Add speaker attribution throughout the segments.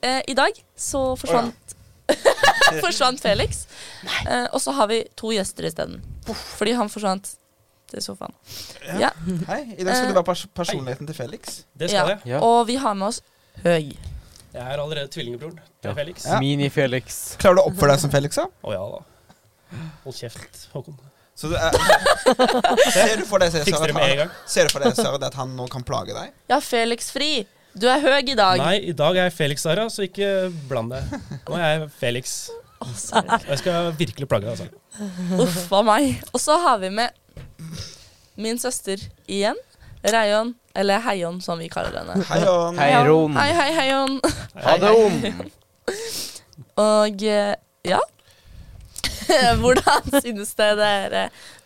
Speaker 1: eh, i dag så forsvant Forsvant Felix. Eh, og så har vi to gjester isteden. Fordi han forsvant til sofaen. Ja.
Speaker 2: Hei, i dag skal du være pers personligheten til Felix.
Speaker 3: Det skal
Speaker 1: Ja.
Speaker 3: jeg.
Speaker 4: Ja.
Speaker 1: Og vi har med oss Høg.
Speaker 3: Jeg er allerede tvillingebror til
Speaker 4: Ja.
Speaker 3: Felix. Å
Speaker 2: Ja.
Speaker 4: Mini-Felix.
Speaker 2: Klarer du å oppføre deg som Felix, da?
Speaker 3: ja da. Hold kjeft, Håkon.
Speaker 2: Så du er, ser du for deg Cæsar,
Speaker 3: Fikser
Speaker 2: at,
Speaker 3: det med en
Speaker 2: han-
Speaker 3: gang.
Speaker 2: ser du for deg, Cæsar, at han nå kan plage deg?
Speaker 1: Ja, Felix Fri. Du er høg i dag.
Speaker 3: Nei, i dag er jeg Felix Sara, så ikke bland deg. Nå er jeg Felix.
Speaker 1: Å, særlig.
Speaker 3: Og jeg skal virkelig plage deg, altså.
Speaker 1: Uff a meg. Og så har vi med min søster igjen. Rayon, eller Heion som vi kaller henne.
Speaker 2: Hei, Jon.
Speaker 4: Hei, Ron.
Speaker 1: Hei, hei, Heion.
Speaker 4: Ha det om.
Speaker 1: Og eh, ja. Hvordan synes det dere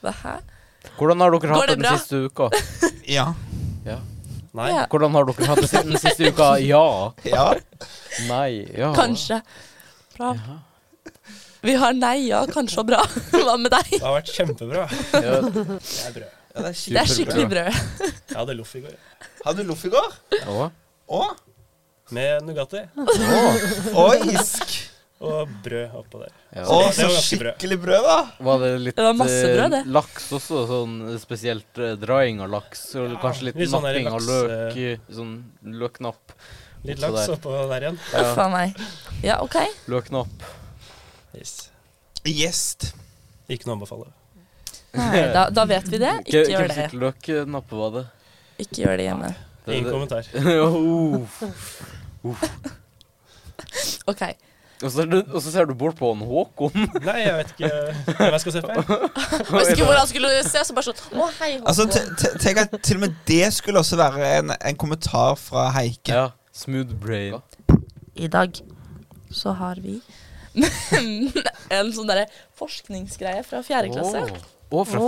Speaker 1: Hva? Hæ?
Speaker 4: Hvordan har dere
Speaker 1: Går
Speaker 4: hatt
Speaker 1: det
Speaker 4: det den
Speaker 1: bra?
Speaker 4: siste uka?
Speaker 2: Ja.
Speaker 3: Nei.
Speaker 1: Ja.
Speaker 4: Hvordan har dere hatt det den siste uka? Ja.
Speaker 2: ja.
Speaker 4: Nei. Ja.
Speaker 1: Kanskje. Bra.
Speaker 4: Ja.
Speaker 1: Vi har nei, ja, kanskje og bra. Hva med deg?
Speaker 3: Det har vært kjempebra.
Speaker 4: Ja.
Speaker 3: Det er brød.
Speaker 2: ja det er
Speaker 1: Det er
Speaker 2: skikkelig.
Speaker 1: skikkelig brød.
Speaker 3: Jeg hadde loff i går.
Speaker 2: Hadde du loff i går?
Speaker 4: Å.
Speaker 2: Å?
Speaker 3: Med Nugatti
Speaker 4: Å.
Speaker 2: Og isk.
Speaker 3: og brød oppå der.
Speaker 4: Ja.
Speaker 2: Å,
Speaker 3: det
Speaker 2: så
Speaker 3: var ganske bra.
Speaker 2: skikkelig brød, da.
Speaker 4: Var det litt
Speaker 1: Det var masse
Speaker 4: eh,
Speaker 1: brød, det.
Speaker 4: laks også? Sånn eh, spesielt eh, drying av laks? Og
Speaker 3: Ja,
Speaker 4: kanskje litt
Speaker 3: litt sånn der
Speaker 4: napping av
Speaker 3: laks,
Speaker 4: løk? eh, Sånn løknapp.
Speaker 3: Litt
Speaker 4: Oppå
Speaker 3: laks
Speaker 4: der.
Speaker 3: oppå der igjen.
Speaker 4: Ja.
Speaker 1: Uff a meg. Ja, OK.
Speaker 4: Løknapp.
Speaker 3: Yes.
Speaker 2: Gjest.
Speaker 3: Ikke noe å anbefale.
Speaker 1: Nei, da, da vet vi det. Ikke
Speaker 4: Hvem-
Speaker 1: gjør
Speaker 4: hvem
Speaker 1: det.
Speaker 4: sitt løknapp var det?
Speaker 1: Ikke gjør det hjemme.
Speaker 4: det,
Speaker 3: Ingen kommentar.
Speaker 4: det. Uff.
Speaker 1: OK.
Speaker 4: og, så er du, og så ser du bort på han Håkon.
Speaker 3: Nei, jeg vet ikke hvem jeg skal se på.
Speaker 1: Jeg Visste ikke hvor han skulle se, så bare sånn Å, hei,
Speaker 2: Altså,
Speaker 1: Håkon.
Speaker 2: te- te- tenk at til og med det skulle også være en, en kommentar fra Heike.
Speaker 4: Ja. Smooth brain.
Speaker 1: I dag så har vi en sånn derre forskningsgreie fra fjerde klasse.
Speaker 4: Å, fra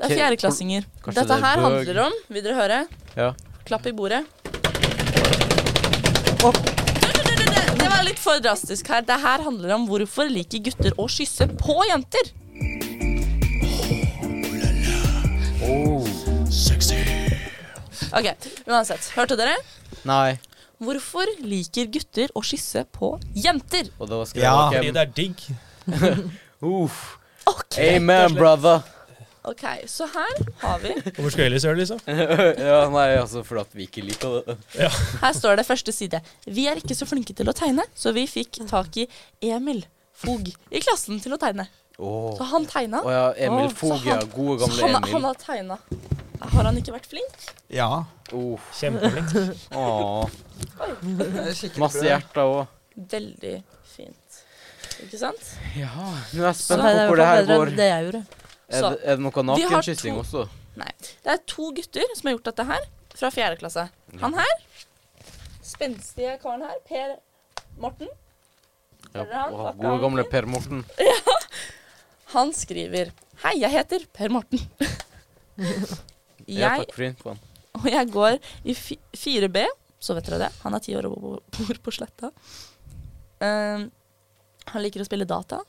Speaker 1: Det er
Speaker 4: Ok,
Speaker 1: fjerdeklassinger.
Speaker 4: kanskje
Speaker 1: Dette
Speaker 4: det er
Speaker 1: her
Speaker 4: bøg.
Speaker 1: handler om Vil dere høre?
Speaker 4: Ja.
Speaker 1: Klapp i bordet.
Speaker 4: Opp.
Speaker 1: Det var litt for drastisk her. Det her handler om hvorfor liker gutter å kysse på jenter.
Speaker 4: Oh.
Speaker 1: Ok, Uansett. Hørte dere?
Speaker 4: Nei.
Speaker 1: Hvorfor liker gutter å kysse på jenter?
Speaker 4: Og det var skrevet
Speaker 2: Ja.
Speaker 4: av
Speaker 3: Fordi
Speaker 4: Kim.
Speaker 3: det er digg.
Speaker 4: Uff.
Speaker 1: Ok,
Speaker 4: Amen, brother.
Speaker 1: ok, Så her har vi
Speaker 3: Og hvor skal jeg ellers gjøre det, liksom?
Speaker 4: ja, nei, altså, fordi at vi ikke liker det.
Speaker 1: Her står det første side. Vi er ikke så flinke til å tegne, så vi fikk tak i Emil Fogg i klassen til å tegne.
Speaker 4: Å
Speaker 1: Så han tegna.
Speaker 4: Å ja, Emil
Speaker 1: Sånn. Å, sånn. så
Speaker 4: Fogg, ja.
Speaker 1: han-
Speaker 4: Gode,
Speaker 1: Så
Speaker 4: gamle
Speaker 1: han,
Speaker 4: Emil.
Speaker 1: han har tegna. Har han ikke vært flink?
Speaker 2: Ja.
Speaker 1: sånn.
Speaker 4: Uff.
Speaker 3: Kjempeflink.
Speaker 4: Å,
Speaker 2: Det er skikkelig
Speaker 4: Masse
Speaker 2: brød.
Speaker 4: hjerter òg.
Speaker 1: Veldig fint. Ikke sant?
Speaker 4: Ja. Nå er jeg
Speaker 5: Så
Speaker 1: Sånn
Speaker 4: spent
Speaker 5: det
Speaker 4: på
Speaker 5: er
Speaker 4: hvor det her går.
Speaker 5: enn det jeg gjorde.
Speaker 4: Er det, er det noe
Speaker 1: vi har
Speaker 4: nakenkyssing
Speaker 1: to-
Speaker 4: også?
Speaker 1: Det er to gutter som har gjort dette her, fra fjerde klasse. Han her, spenstige karen her, Per Morten,
Speaker 4: Ja.
Speaker 1: Eller han,
Speaker 4: å,
Speaker 1: fuck
Speaker 4: Gode,
Speaker 1: han.
Speaker 4: gamle Per Morten.
Speaker 1: han skriver Hei, jeg heter Per Morten.
Speaker 4: Ja,
Speaker 1: jeg
Speaker 4: takk for infoen.
Speaker 1: og jeg går i fi- 4B, så vet dere det. Han er ti år og bo- bor på Sletta. Ehm, han liker å spille data.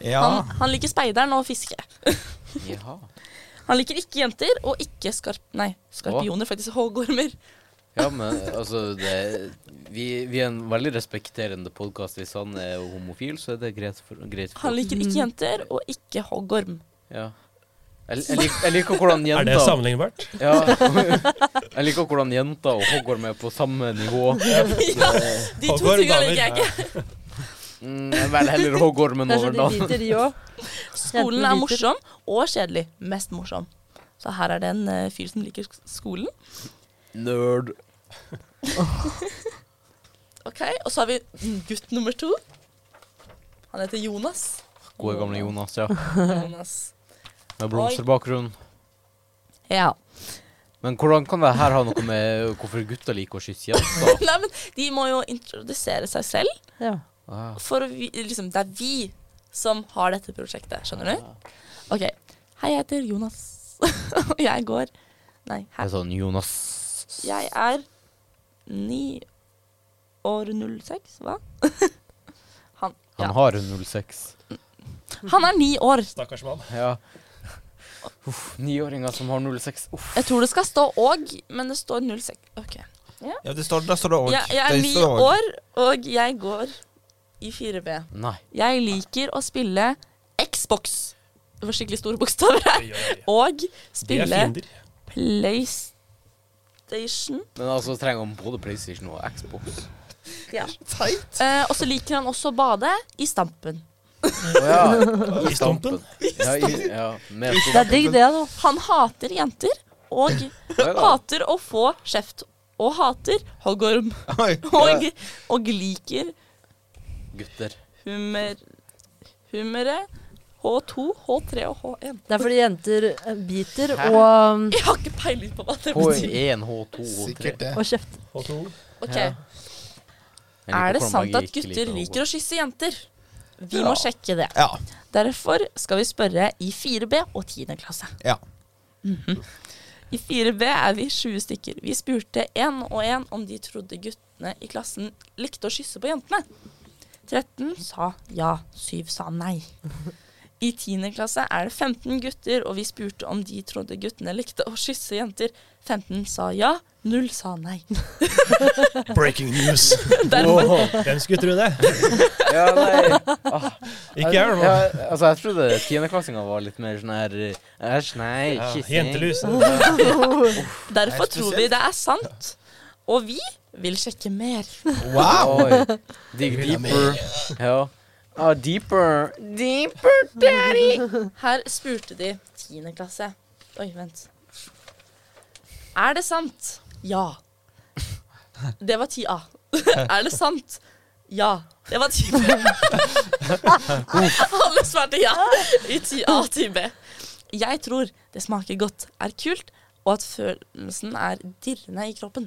Speaker 2: Ja.
Speaker 1: Han, han liker speideren og fiske.
Speaker 4: Jaha.
Speaker 1: Han liker ikke jenter og ikke skarp... Nei, skarpioner, faktisk. Hoggormer.
Speaker 4: Ja, men altså det, vi, vi er en veldig respekterende podkast. Hvis han er homofil, så er det greit for, greit for
Speaker 1: Han
Speaker 4: oss.
Speaker 1: liker ikke jenter og ikke hoggorm.
Speaker 4: Ja. Jeg, jeg, lik, jeg liker hvordan
Speaker 3: Er det
Speaker 4: jenter
Speaker 3: sammenlignbart?
Speaker 4: ja. Jeg liker hvordan jenter og hoggorm er på samme nivå.
Speaker 1: ja, de to
Speaker 3: Hoggorm,
Speaker 1: tingene
Speaker 3: damer.
Speaker 1: liker jeg ikke.
Speaker 4: Mm, jeg velger heller hoggormen
Speaker 5: Det er så
Speaker 4: over
Speaker 5: de
Speaker 4: da.
Speaker 5: biter, de òg.
Speaker 1: Skolen
Speaker 5: Jentene
Speaker 1: er
Speaker 5: liker.
Speaker 1: morsom og kjedelig. Mest morsom. Så her er det en eh, fyr som liker sk- skolen.
Speaker 4: Nerd.
Speaker 1: Ok, Og så har vi gutt nummer to. Han heter Jonas.
Speaker 4: Gode gamle Jonas, ja.
Speaker 1: Jonas.
Speaker 4: Med blomsterbakgrunn.
Speaker 1: Ja.
Speaker 4: Men hvordan kan det her ha noe med hvorfor gutter liker å kysse jenter?
Speaker 1: Nei, men de må jo introdusere seg selv.
Speaker 5: Ja.
Speaker 4: Ah.
Speaker 1: For å vi, liksom, det er vi som har dette prosjektet. Skjønner du? Ok. Hei, jeg heter Jonas. Og jeg går Nei,
Speaker 4: Det
Speaker 1: her.
Speaker 4: er sånn Jonas
Speaker 1: Jeg er ni år 06, hva? Han. Ja.
Speaker 4: Han har 06.
Speaker 1: Han er ni år.
Speaker 3: Stakkars mann.
Speaker 4: Ja. Uff, niåringer som har 06. Uff.
Speaker 1: Jeg tror det skal stå 'og', men det står 06. Ok.
Speaker 2: Ja, det står, der står det òg.
Speaker 1: Jeg, jeg er ni år, og jeg går i 4B.
Speaker 4: Nei.
Speaker 1: Jeg liker å spille Xbox. Det var skikkelig store bokstaver her.
Speaker 3: Oi, oi, oi.
Speaker 1: Og
Speaker 3: De er
Speaker 1: spille
Speaker 3: fiender.
Speaker 1: PlayStation.
Speaker 4: Men altså trenger han både PlayStation og Xbox.
Speaker 2: Teit.
Speaker 1: Eh, og så liker han også å bade i stampen.
Speaker 4: Å ja.
Speaker 3: I stumpen.
Speaker 4: Ja, i, ja, med
Speaker 5: Det er digg, det, da.
Speaker 1: Han hater jenter og
Speaker 4: stumpen.
Speaker 1: hater å få kjeft. Og hater hoggorm.
Speaker 2: Oi.
Speaker 1: Og, og liker
Speaker 4: Gutter.
Speaker 1: hummer... Hummeret. H2, H3 og H1.
Speaker 5: Det er fordi jenter eh, biter
Speaker 4: Hæ?
Speaker 5: og, um,
Speaker 1: Jeg har ikke peiling på hva det betyr.
Speaker 4: H1, H2, H3.
Speaker 2: Sikkert det.
Speaker 5: og kjefter.
Speaker 3: Og to.
Speaker 1: Ok,
Speaker 4: Ja. Jeg liker
Speaker 1: Er det
Speaker 4: hvordan
Speaker 1: sant
Speaker 4: magi
Speaker 1: at
Speaker 4: ikke
Speaker 1: gutter liker
Speaker 4: å
Speaker 1: å kysse jenter? Vi må sjekke det.
Speaker 2: Ja.
Speaker 1: Derfor skal vi spørre i 4B og 10. klasse.
Speaker 2: Ja.
Speaker 1: Mhm. I 4B er vi 20 stykker. Vi spurte én og én om de trodde guttene i klassen likte å kysse på jentene. 13 sa ja, 7 sa nei. I 10. klasse er det 15 gutter, og vi spurte om de trodde guttene likte å kysse jenter. 15 sa ja, 0 sa nei.
Speaker 3: Breaking news.
Speaker 1: Derfor
Speaker 3: Hvem skulle tro det?
Speaker 4: Ja, nei.
Speaker 3: Ikke jeg, i hvert
Speaker 4: Ja,
Speaker 3: fall.
Speaker 4: altså, jeg trodde tiendeklassinga var litt mer sånn her eh, Æsj, nei,
Speaker 3: Ja,
Speaker 4: kyssing.
Speaker 3: Jentelus.
Speaker 1: Derfor
Speaker 2: Det er
Speaker 1: tror vi det er sant. Og vi vil sjekke mer.
Speaker 2: Wow.
Speaker 4: Oi. Dig deeper. Ja. Ah, deeper. Deeper, daddy.
Speaker 1: Her spurte de 10. klasse. Oi, vent. Er det sant? Ja. Det var 10A. Er det sant? Ja. Det var 10B. Alle svarte ja i 10A og 10B. Jeg tror det smaker godt, er kult, og at følelsen er dirrende i kroppen.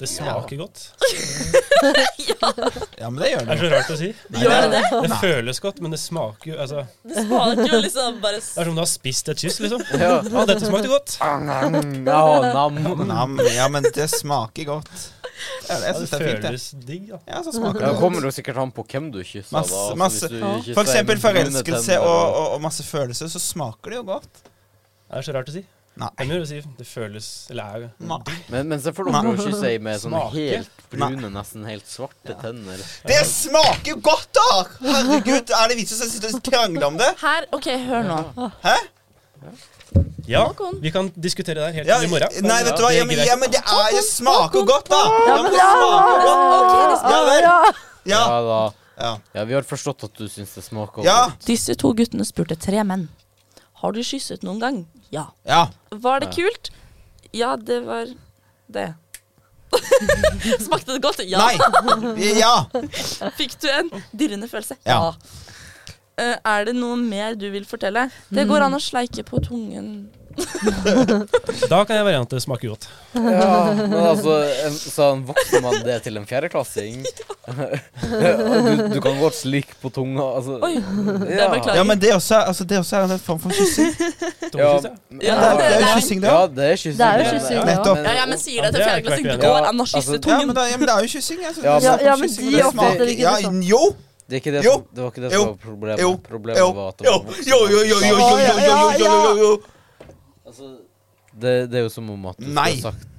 Speaker 3: Det smaker godt.
Speaker 1: Ja,
Speaker 2: Ja, men det gjør
Speaker 3: Det er
Speaker 2: det.
Speaker 3: så rart å si.
Speaker 1: gjør det det?
Speaker 3: Det føles godt, men det smaker jo altså,
Speaker 1: Det smaker jo liksom bare
Speaker 3: Det er som om du har spist et kyss, liksom.
Speaker 4: Ja.
Speaker 3: Ja, dette smakte godt.
Speaker 4: Ah, nam. Ja, nam.
Speaker 2: Nam, ja, men det smaker godt. Ja, jeg
Speaker 3: Ja, det
Speaker 2: syns det er fint, det.
Speaker 3: føles digg, da.
Speaker 2: Ja, så smaker
Speaker 4: Ja,
Speaker 2: det
Speaker 4: det kommer jo sikkert an på hvem du kysser.
Speaker 2: Masse-
Speaker 4: da. Altså,
Speaker 2: masse-
Speaker 4: hvis du
Speaker 5: Ja.
Speaker 4: kysser
Speaker 2: For eksempel
Speaker 4: en
Speaker 2: forelskelse
Speaker 4: brune
Speaker 2: og,
Speaker 4: tenner,
Speaker 2: og, og masse følelser, så smaker det jo godt.
Speaker 3: Det er så rart å si.
Speaker 2: Nei.
Speaker 3: Hvem gjør det å si? Det føles Eller er
Speaker 2: Nei.
Speaker 4: Men, men se for dere å kysse ei med sånne
Speaker 3: Smake?
Speaker 4: helt brune, nesten helt svarte tenner.
Speaker 2: Det smaker jo godt, da! Herregud, er det vits i å sitte og krangle om det?
Speaker 1: Her, ok, hør nå.
Speaker 2: Hæ?
Speaker 3: Ja,
Speaker 1: Håkon.
Speaker 3: vi kan diskutere det her helt
Speaker 2: Ja,
Speaker 3: til i morgen.
Speaker 2: nei, vet du hva,
Speaker 3: det
Speaker 2: ja,
Speaker 3: er
Speaker 2: men,
Speaker 3: greit.
Speaker 2: ja, men det, er, det smaker jo godt, da! Ja, men det
Speaker 5: Ja,
Speaker 2: smaker godt. Ja vel.
Speaker 5: ja.
Speaker 2: Ja.
Speaker 4: Ja da.
Speaker 2: Ja.
Speaker 4: Ja, vi har forstått at du syns det smaker
Speaker 2: Ja.
Speaker 4: godt.
Speaker 1: Disse to guttene spurte tre menn. Har du kysset noen gang? Ja.
Speaker 2: ja.
Speaker 1: Var det
Speaker 4: Ja.
Speaker 1: kult? Ja, det var det. Smakte det godt? Ja.
Speaker 2: Nei. Ja.
Speaker 1: Fikk du en dirrende følelse?
Speaker 2: Ja.
Speaker 1: Eh, er det noe mer du vil fortelle? Det går an å sleike på tungen.
Speaker 3: Da kan jeg variante smaker godt.
Speaker 4: Ja, men altså, en, sa en voksen mann det til en fjerdeklassing? du, du kan godt slikke på tunga, altså.
Speaker 1: Oi,
Speaker 4: ja.
Speaker 1: beklager.
Speaker 2: ja, men det også, er- altså, det også er en form for kyssing.
Speaker 4: Ja,
Speaker 3: Tungekyss, ja.
Speaker 4: men-
Speaker 1: Ja,
Speaker 2: Det er- det er
Speaker 1: Ja.
Speaker 2: kyssing, det
Speaker 4: Ja,
Speaker 2: òg.
Speaker 4: det er kyssing.
Speaker 5: Det er jo
Speaker 4: men-
Speaker 5: kyssing,
Speaker 4: ja,
Speaker 2: ja. Nettopp.
Speaker 1: Ja, jeg men sier det
Speaker 3: Ja,
Speaker 1: til
Speaker 3: det er
Speaker 1: fjerdeklassing.
Speaker 3: klart
Speaker 1: Det
Speaker 3: vi
Speaker 4: er.
Speaker 1: går an å kysse
Speaker 4: Altså,
Speaker 2: Ja, men,
Speaker 1: tungen.
Speaker 2: da, ja, men det er jo kyssing. Altså,
Speaker 4: Ja,
Speaker 2: det
Speaker 4: men-
Speaker 2: er
Speaker 5: Ja,
Speaker 2: for
Speaker 5: men
Speaker 2: kyssing,
Speaker 5: de
Speaker 2: og det
Speaker 5: oppfatter
Speaker 2: smaker-
Speaker 5: ikke det
Speaker 2: ja,
Speaker 5: sånn.
Speaker 2: Jo!
Speaker 4: Det er ikke det
Speaker 2: Jo.
Speaker 4: som, det var ikke det
Speaker 2: Jo.
Speaker 4: som var problemet.
Speaker 2: Jo.
Speaker 4: Problemet
Speaker 2: Jo,
Speaker 4: var at det
Speaker 2: jo,
Speaker 4: var voksen
Speaker 2: jo, jo, jo,
Speaker 4: mann.
Speaker 2: jo, jo, jo, jo, jo, jo, jo, jo.
Speaker 4: Altså, det, det er jo som om at du
Speaker 2: Nei.
Speaker 4: skulle sagt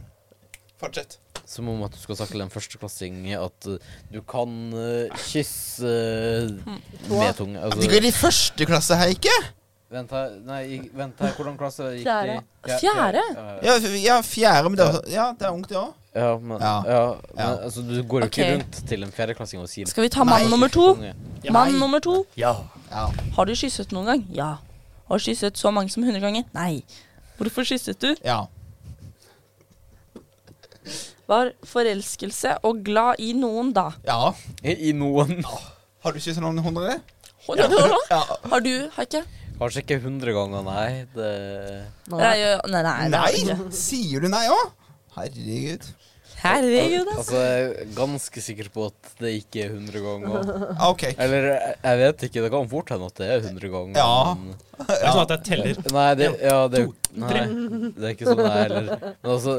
Speaker 2: Fortsett.
Speaker 4: Som om at du skal sagt til en førsteklassing at eh, du kan eh, kysse eh, med tunge.
Speaker 2: De går i
Speaker 4: Altså,
Speaker 2: første klasse her, ikke?
Speaker 4: vent her, nei, i- vent her, hvordan klasse gikk de?
Speaker 5: Fjerde.
Speaker 4: Ja,
Speaker 1: Fjerde?
Speaker 4: Ja,
Speaker 2: Ja, f- ja fjerde, men det er, også- ja, det er ungt, det òg.
Speaker 4: ja, men, ja.
Speaker 2: Ja.
Speaker 4: men
Speaker 2: Ja.
Speaker 4: altså, du går jo
Speaker 1: Ok.
Speaker 4: ikke rundt til en fjerdeklassing og sier
Speaker 1: Skal vi ta mann
Speaker 2: Nei.
Speaker 1: nummer to?
Speaker 4: tunge.
Speaker 1: Mann nummer to.
Speaker 3: Ja.
Speaker 2: Ja.
Speaker 1: Har du kysset noen gang? Ja. Har du kysset så mange som 100 ganger? Nei. Hvorfor kysset du?
Speaker 2: ja.
Speaker 1: Var forelskelse og glad i noen da.
Speaker 2: ja.
Speaker 4: I, I noen.
Speaker 2: Har du kyssa noen hundre?
Speaker 1: Har du,
Speaker 2: Ja.
Speaker 1: har du Haike?
Speaker 4: Kanskje ikke hundre ganger, nei. Det
Speaker 1: Nei, jo- nei, nei, det har
Speaker 2: Nei!
Speaker 1: du ikke.
Speaker 2: Sier du nei òg? Herregud.
Speaker 1: Herregud, ass.
Speaker 4: Altså, jeg er ganske sikker på at det ikke er 100 ganger.
Speaker 2: Ah, OK.
Speaker 4: Eller jeg jeg vet ikke, det kan fort hende at det er 100 ganger.
Speaker 2: Ja.
Speaker 4: men-
Speaker 3: Det er sånn at jeg teller.
Speaker 4: Nei, det, ja, det er jo Nei, det er ikke sånn det er heller. Men altså,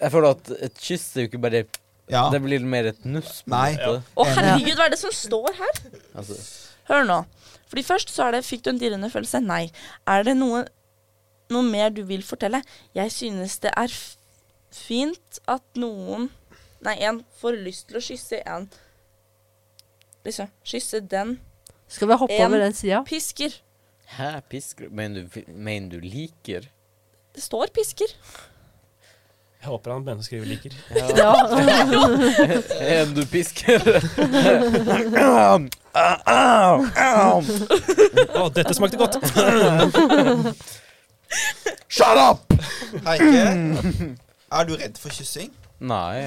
Speaker 4: jeg føler at et kyss er jo ikke bare
Speaker 2: Ja.
Speaker 4: Det blir mer et nuss. på en
Speaker 2: Nei.
Speaker 4: måte.
Speaker 1: Å, herregud, hva er det som står her?
Speaker 4: Altså,
Speaker 1: Hør nå. Fordi først så er det Fikk du en dirrende følelse? Nei. Er det noe, noe mer du vil fortelle? Jeg synes det er f- fint at noen Nei, en får lyst til å kysse en Liksom, kysse den
Speaker 5: Skal vi hoppe
Speaker 1: En.
Speaker 5: over den sida?
Speaker 1: pisker.
Speaker 4: Hæ, pisker Mener du, mener du liker?
Speaker 1: Det står pisker.
Speaker 3: Jeg håper han begynner å skrive liker.
Speaker 5: Ja.
Speaker 4: En du pisker?
Speaker 3: Å, dette smakte godt!
Speaker 2: Shut up! Heike, er du redd for kyssing?
Speaker 4: Nei,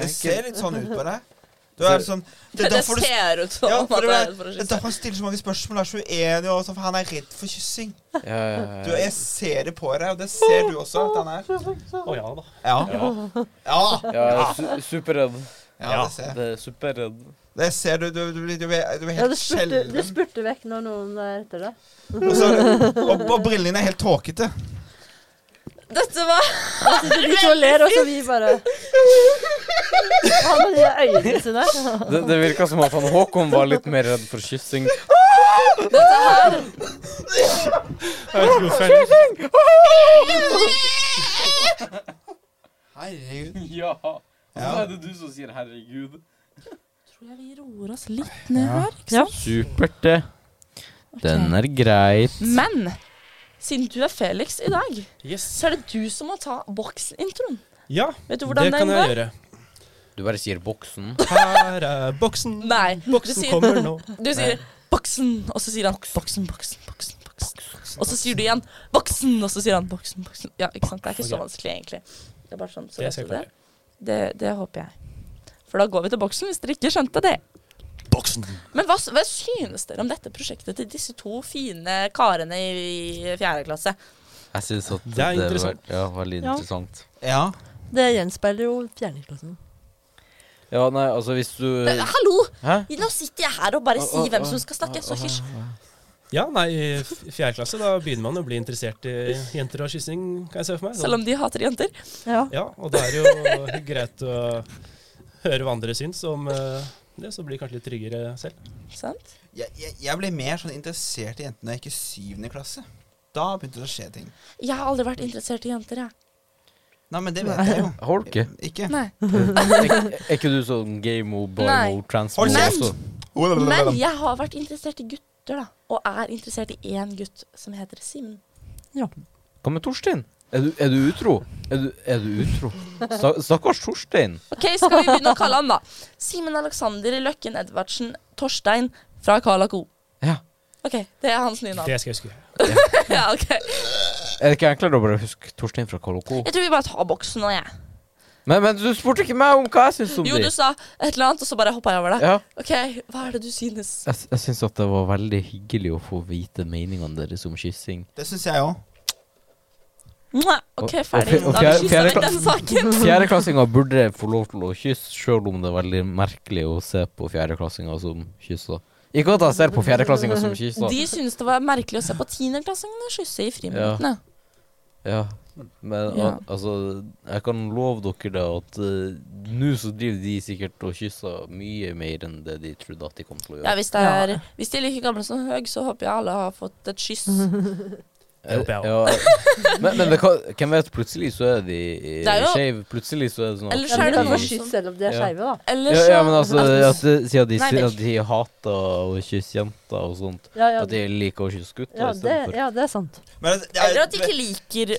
Speaker 2: Det
Speaker 4: jeg
Speaker 2: ser
Speaker 4: er ikke
Speaker 2: litt sånn ut på deg. Du er sånn, det
Speaker 1: Det,
Speaker 2: er derfor du
Speaker 1: ser ut som
Speaker 2: ja,
Speaker 1: at
Speaker 2: for det,
Speaker 1: det
Speaker 2: er-
Speaker 1: er for å
Speaker 2: det er
Speaker 1: kysse.
Speaker 2: derfor han stiller så mange spørsmål. Er så uenig og sånn, for han er redd for kyssing.
Speaker 4: ja,
Speaker 2: Du,
Speaker 4: ja, ja.
Speaker 2: jeg ser det på deg, og det ser du også at han er.
Speaker 3: Å ja da.
Speaker 2: Ja.
Speaker 3: Ja.
Speaker 2: Ja,
Speaker 4: Jeg er su superredd.
Speaker 2: ja det ser jeg.
Speaker 4: Det er superredd.
Speaker 2: Det ser du. Du, du, blir- du, blir- du blir
Speaker 5: Ja, det
Speaker 2: helt
Speaker 5: spurte, det
Speaker 2: skjelven.
Speaker 5: spurte vekk når noen eh, er etter deg.
Speaker 2: Og, så, og, og brillene dine er helt tåkete.
Speaker 1: Dette var
Speaker 5: Da sitter de to og ler, og så vi bare Han med de øynene sine.
Speaker 4: Det, det virka som at han Håkon var litt mer redd for kyssing.
Speaker 3: Jeg vet ikke hvorfor jeg-
Speaker 2: Herregud.
Speaker 4: Ja.
Speaker 2: Ja.
Speaker 4: det du som sier 'herregud'?
Speaker 1: Tror jeg vi roer oss litt ned
Speaker 4: Ja.
Speaker 1: her. Ikke sant?
Speaker 4: Supert, det. Den
Speaker 1: Ok.
Speaker 4: er greit.
Speaker 1: Men siden du er Felix i dag,
Speaker 3: Yes.
Speaker 1: så er det du som må ta boksintroen.
Speaker 3: Ja,
Speaker 1: Vet du hvordan
Speaker 3: det kan
Speaker 1: den
Speaker 3: jeg
Speaker 1: går?
Speaker 3: gjøre.
Speaker 4: Du bare sier 'boksen'.
Speaker 3: Her er boksen.
Speaker 1: Nei, du
Speaker 3: Boksen
Speaker 1: sier-
Speaker 3: kommer nå.
Speaker 1: Du sier 'boksen', og så sier han 'boksen, boksen, boksen'. boksen. Og så sier du igjen 'boksen', og så sier han 'boksen, boksen'. Ja, ikke sant? Det er ikke så
Speaker 3: Ok.
Speaker 1: vanskelig, egentlig. Det er bare sånn, så
Speaker 3: Det
Speaker 1: vet
Speaker 3: skal
Speaker 1: du
Speaker 3: jeg klare.
Speaker 1: det. det. Det håper jeg. For da går vi til boksen, hvis dere ikke skjønte det.
Speaker 3: Boksen.
Speaker 1: Men hva, hva synes dere om dette prosjektet til disse to fine karene i fjerde klasse?
Speaker 4: Jeg syns at
Speaker 3: Det er det var- interessant.
Speaker 4: ja, veldig
Speaker 5: Ja.
Speaker 4: interessant.
Speaker 2: Ja.
Speaker 5: Det gjenspeiler jo fjerneklassen.
Speaker 4: Ja, nei, altså hvis du
Speaker 1: Men, hallo!
Speaker 4: Hæ?
Speaker 1: Nå sitter jeg her og bare
Speaker 4: Å,
Speaker 1: sier
Speaker 4: å,
Speaker 1: hvem
Speaker 4: å,
Speaker 1: som skal snakke, så hysj.
Speaker 3: Ja, nei, i f- fjerde klasse, da begynner man å bli interessert i jenter og kyssing, kan jeg se for meg.
Speaker 1: Selv om de hater jenter.
Speaker 5: Ja.
Speaker 3: Ja, og det er jo greit å høre hva andre syns om eh, det, så blir det kanskje litt tryggere selv.
Speaker 1: Sant?
Speaker 2: Jeg, jeg, jeg ble mer sånn interessert i jentene da jeg gikk i syvende klasse. Da begynte det å skje ting.
Speaker 1: Jeg har aldri vært interessert i jenter, jeg.
Speaker 2: Nei, men det vet jeg jo.
Speaker 4: Hold ikke.
Speaker 2: Ikke.
Speaker 1: Nei.
Speaker 4: Er er ikke du sånn gamo,
Speaker 1: Nei.
Speaker 4: bimo, transmo
Speaker 2: Hold kjeft.
Speaker 4: også?
Speaker 1: Men jeg har vært interessert i gutter, da. Og er interessert i én gutt som heter Simen.
Speaker 4: Hva med Torstein? Er du, er du utro? Er du, er du utro? Sta- Stakkars Torstein.
Speaker 1: OK, skal vi begynne å kalle han, da? Simen Alexander Løkken Edvardsen Torstein fra Carla Co.
Speaker 4: Ja.
Speaker 1: OK, det er hans nye navn.
Speaker 3: Det skal jeg huske.
Speaker 1: Ja, ok.
Speaker 4: Er det ikke enklere å bare huske Torstein fra Koloko?
Speaker 1: Jeg tror vi bare tar boksen nå, jeg.
Speaker 4: Men, men du spurte ikke meg om hva jeg syns om
Speaker 1: Jo,
Speaker 4: de.
Speaker 1: du sa et eller annet, og så bare hoppa jeg over det.
Speaker 4: Ja.
Speaker 1: OK, hva er det du synes?
Speaker 4: Jeg, s- jeg syns at det var veldig hyggelig å få vite meningene deres om kyssing.
Speaker 2: Det syns jeg òg.
Speaker 1: Mwah! OK,
Speaker 4: Og-
Speaker 1: ferdig.
Speaker 4: og
Speaker 1: Da
Speaker 4: fjerde-
Speaker 1: har vi kyssa
Speaker 4: fjerde
Speaker 1: vekk den saken.
Speaker 4: Fjerdeklassinger burde få lov til å kysse, sjøl om det er veldig merkelig å se på fjerdeklassinger som kysser. Ikke at jeg ser på fjerdeklassinger som kysser.
Speaker 1: De synes det var merkelig å se på tiendeklassingene kysse i friminuttene.
Speaker 4: Ja. Men
Speaker 1: Ja.
Speaker 4: al- altså, jeg kan love dere det at eh, nå så driver de sikkert og kysser mye mer enn det de trodde at de kom til å
Speaker 1: Ja,
Speaker 4: gjøre.
Speaker 1: hvis, det er, hvis de er like gamle som Høg, så håper jeg alle har fått et kyss.
Speaker 3: det håper jeg
Speaker 4: Eh, ja. Men, men det kan, hvem vet, plutselig så er de
Speaker 1: Det er
Speaker 4: eh,
Speaker 1: jo-
Speaker 4: skeive. Plutselig så er det sånn at
Speaker 1: Eller
Speaker 5: Ja,
Speaker 1: så
Speaker 5: men
Speaker 1: er det
Speaker 5: de
Speaker 1: noe
Speaker 5: får
Speaker 1: som
Speaker 5: skyss selv om de er
Speaker 4: Ja.
Speaker 5: skeive, da.
Speaker 1: Eller
Speaker 4: ja,
Speaker 1: så
Speaker 4: ja, men altså, at de- siden de
Speaker 1: Nei,
Speaker 4: sier
Speaker 1: vel.
Speaker 4: at de hater å kysse jenter og sånt,
Speaker 5: Ja, ja,
Speaker 4: at de liksom liker å kysse gutter
Speaker 5: ja, det,
Speaker 4: istedenfor.
Speaker 5: ja, det er sant.
Speaker 2: Men det, det
Speaker 1: Eller
Speaker 2: er,
Speaker 1: at de ikke liker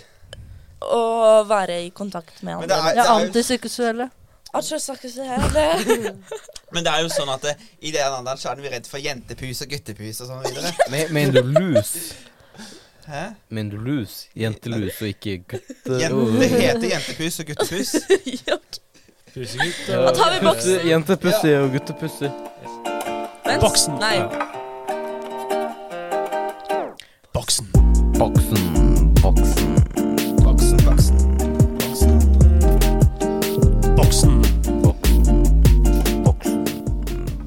Speaker 1: å være i kontakt med
Speaker 2: men det
Speaker 1: andre.
Speaker 2: er, det
Speaker 5: Ja,
Speaker 2: er,
Speaker 5: antiseksuelle.
Speaker 1: Altså, snakker så her, det.
Speaker 2: men det er jo sånn at eh, i den alderen så er vi redd for jentepus og guttepus og sånn videre.
Speaker 4: Men- Mener du lus?
Speaker 2: Hæ?
Speaker 4: Mener du lus? Jentelus og ikke gutte...
Speaker 2: Jente, det heter jentepus og guttepus.
Speaker 1: Ja, ok.
Speaker 3: Pusegutt.
Speaker 4: Ja.
Speaker 1: Da tar vi boksen.
Speaker 4: Pusse- Jentepussi og guttepussi.
Speaker 1: Mens-
Speaker 3: Eh, Boksen.
Speaker 1: Nei.
Speaker 3: Boksen.
Speaker 4: Boksen, boksen.
Speaker 2: Baksen, baksen, baksen.
Speaker 3: Boksen.
Speaker 4: Boksen.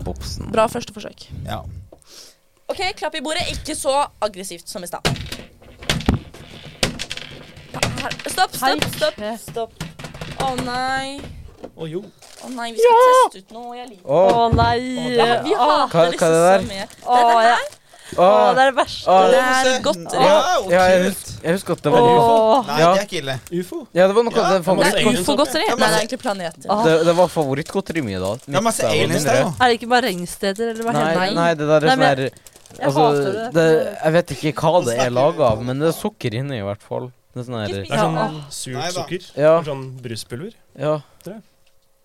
Speaker 4: Boksen.
Speaker 1: Bra første forsøk.
Speaker 2: Ja.
Speaker 1: OK, klapp i bordet. Ikke så aggressivt som i stad. Her- Stopp, stopp, stopp. stopp. Å nei.
Speaker 3: Å jo.
Speaker 1: Å nei, vi skal teste ut noe. Jeg liker
Speaker 5: Å
Speaker 4: Å,
Speaker 5: nei!
Speaker 1: Vi
Speaker 5: Åh,
Speaker 1: hater
Speaker 4: hva er det
Speaker 1: disse
Speaker 4: der?
Speaker 1: så mye.
Speaker 5: åh,
Speaker 1: Dette
Speaker 5: jeg,
Speaker 1: her
Speaker 5: Å,
Speaker 4: Åh,
Speaker 5: det er det verste.
Speaker 4: Åh,
Speaker 1: Det er godt.
Speaker 4: ja,
Speaker 2: Wow,
Speaker 4: ja, jeg,
Speaker 2: kult.
Speaker 4: husker, jeg husker at det var noe
Speaker 5: Åh.
Speaker 2: Nei,
Speaker 4: Ja.
Speaker 2: det er ikke ille.
Speaker 3: Ufo.
Speaker 4: Ja, det var noe
Speaker 2: Ja,
Speaker 4: det, var
Speaker 1: Det
Speaker 3: masse
Speaker 4: favoritt,
Speaker 1: er ufogodteri. Nei,
Speaker 2: Ja, men-
Speaker 1: det er egentlig planeter.
Speaker 5: Åh.
Speaker 4: det, det var favorittgodteriet mitt da.
Speaker 2: Det er masse aliens der òg.
Speaker 5: Er det ikke bare regnsteder, eller hva
Speaker 4: Nei,
Speaker 5: heter det?
Speaker 4: nei, det der er
Speaker 5: Nei,
Speaker 4: sånn
Speaker 5: men
Speaker 4: her
Speaker 5: jeg
Speaker 4: Altså,
Speaker 5: hater det.
Speaker 4: det, jeg vet ikke hva det
Speaker 2: snakker
Speaker 4: er laget
Speaker 2: vi
Speaker 4: av, men det er sukker inni, i hvert fall. Det er sånn her
Speaker 3: Det er
Speaker 1: Ja.
Speaker 3: sånn
Speaker 2: Nei
Speaker 3: surt
Speaker 2: da.
Speaker 3: sukker.
Speaker 4: Ja.
Speaker 3: Det er Sånn bruspulver.
Speaker 4: Ja.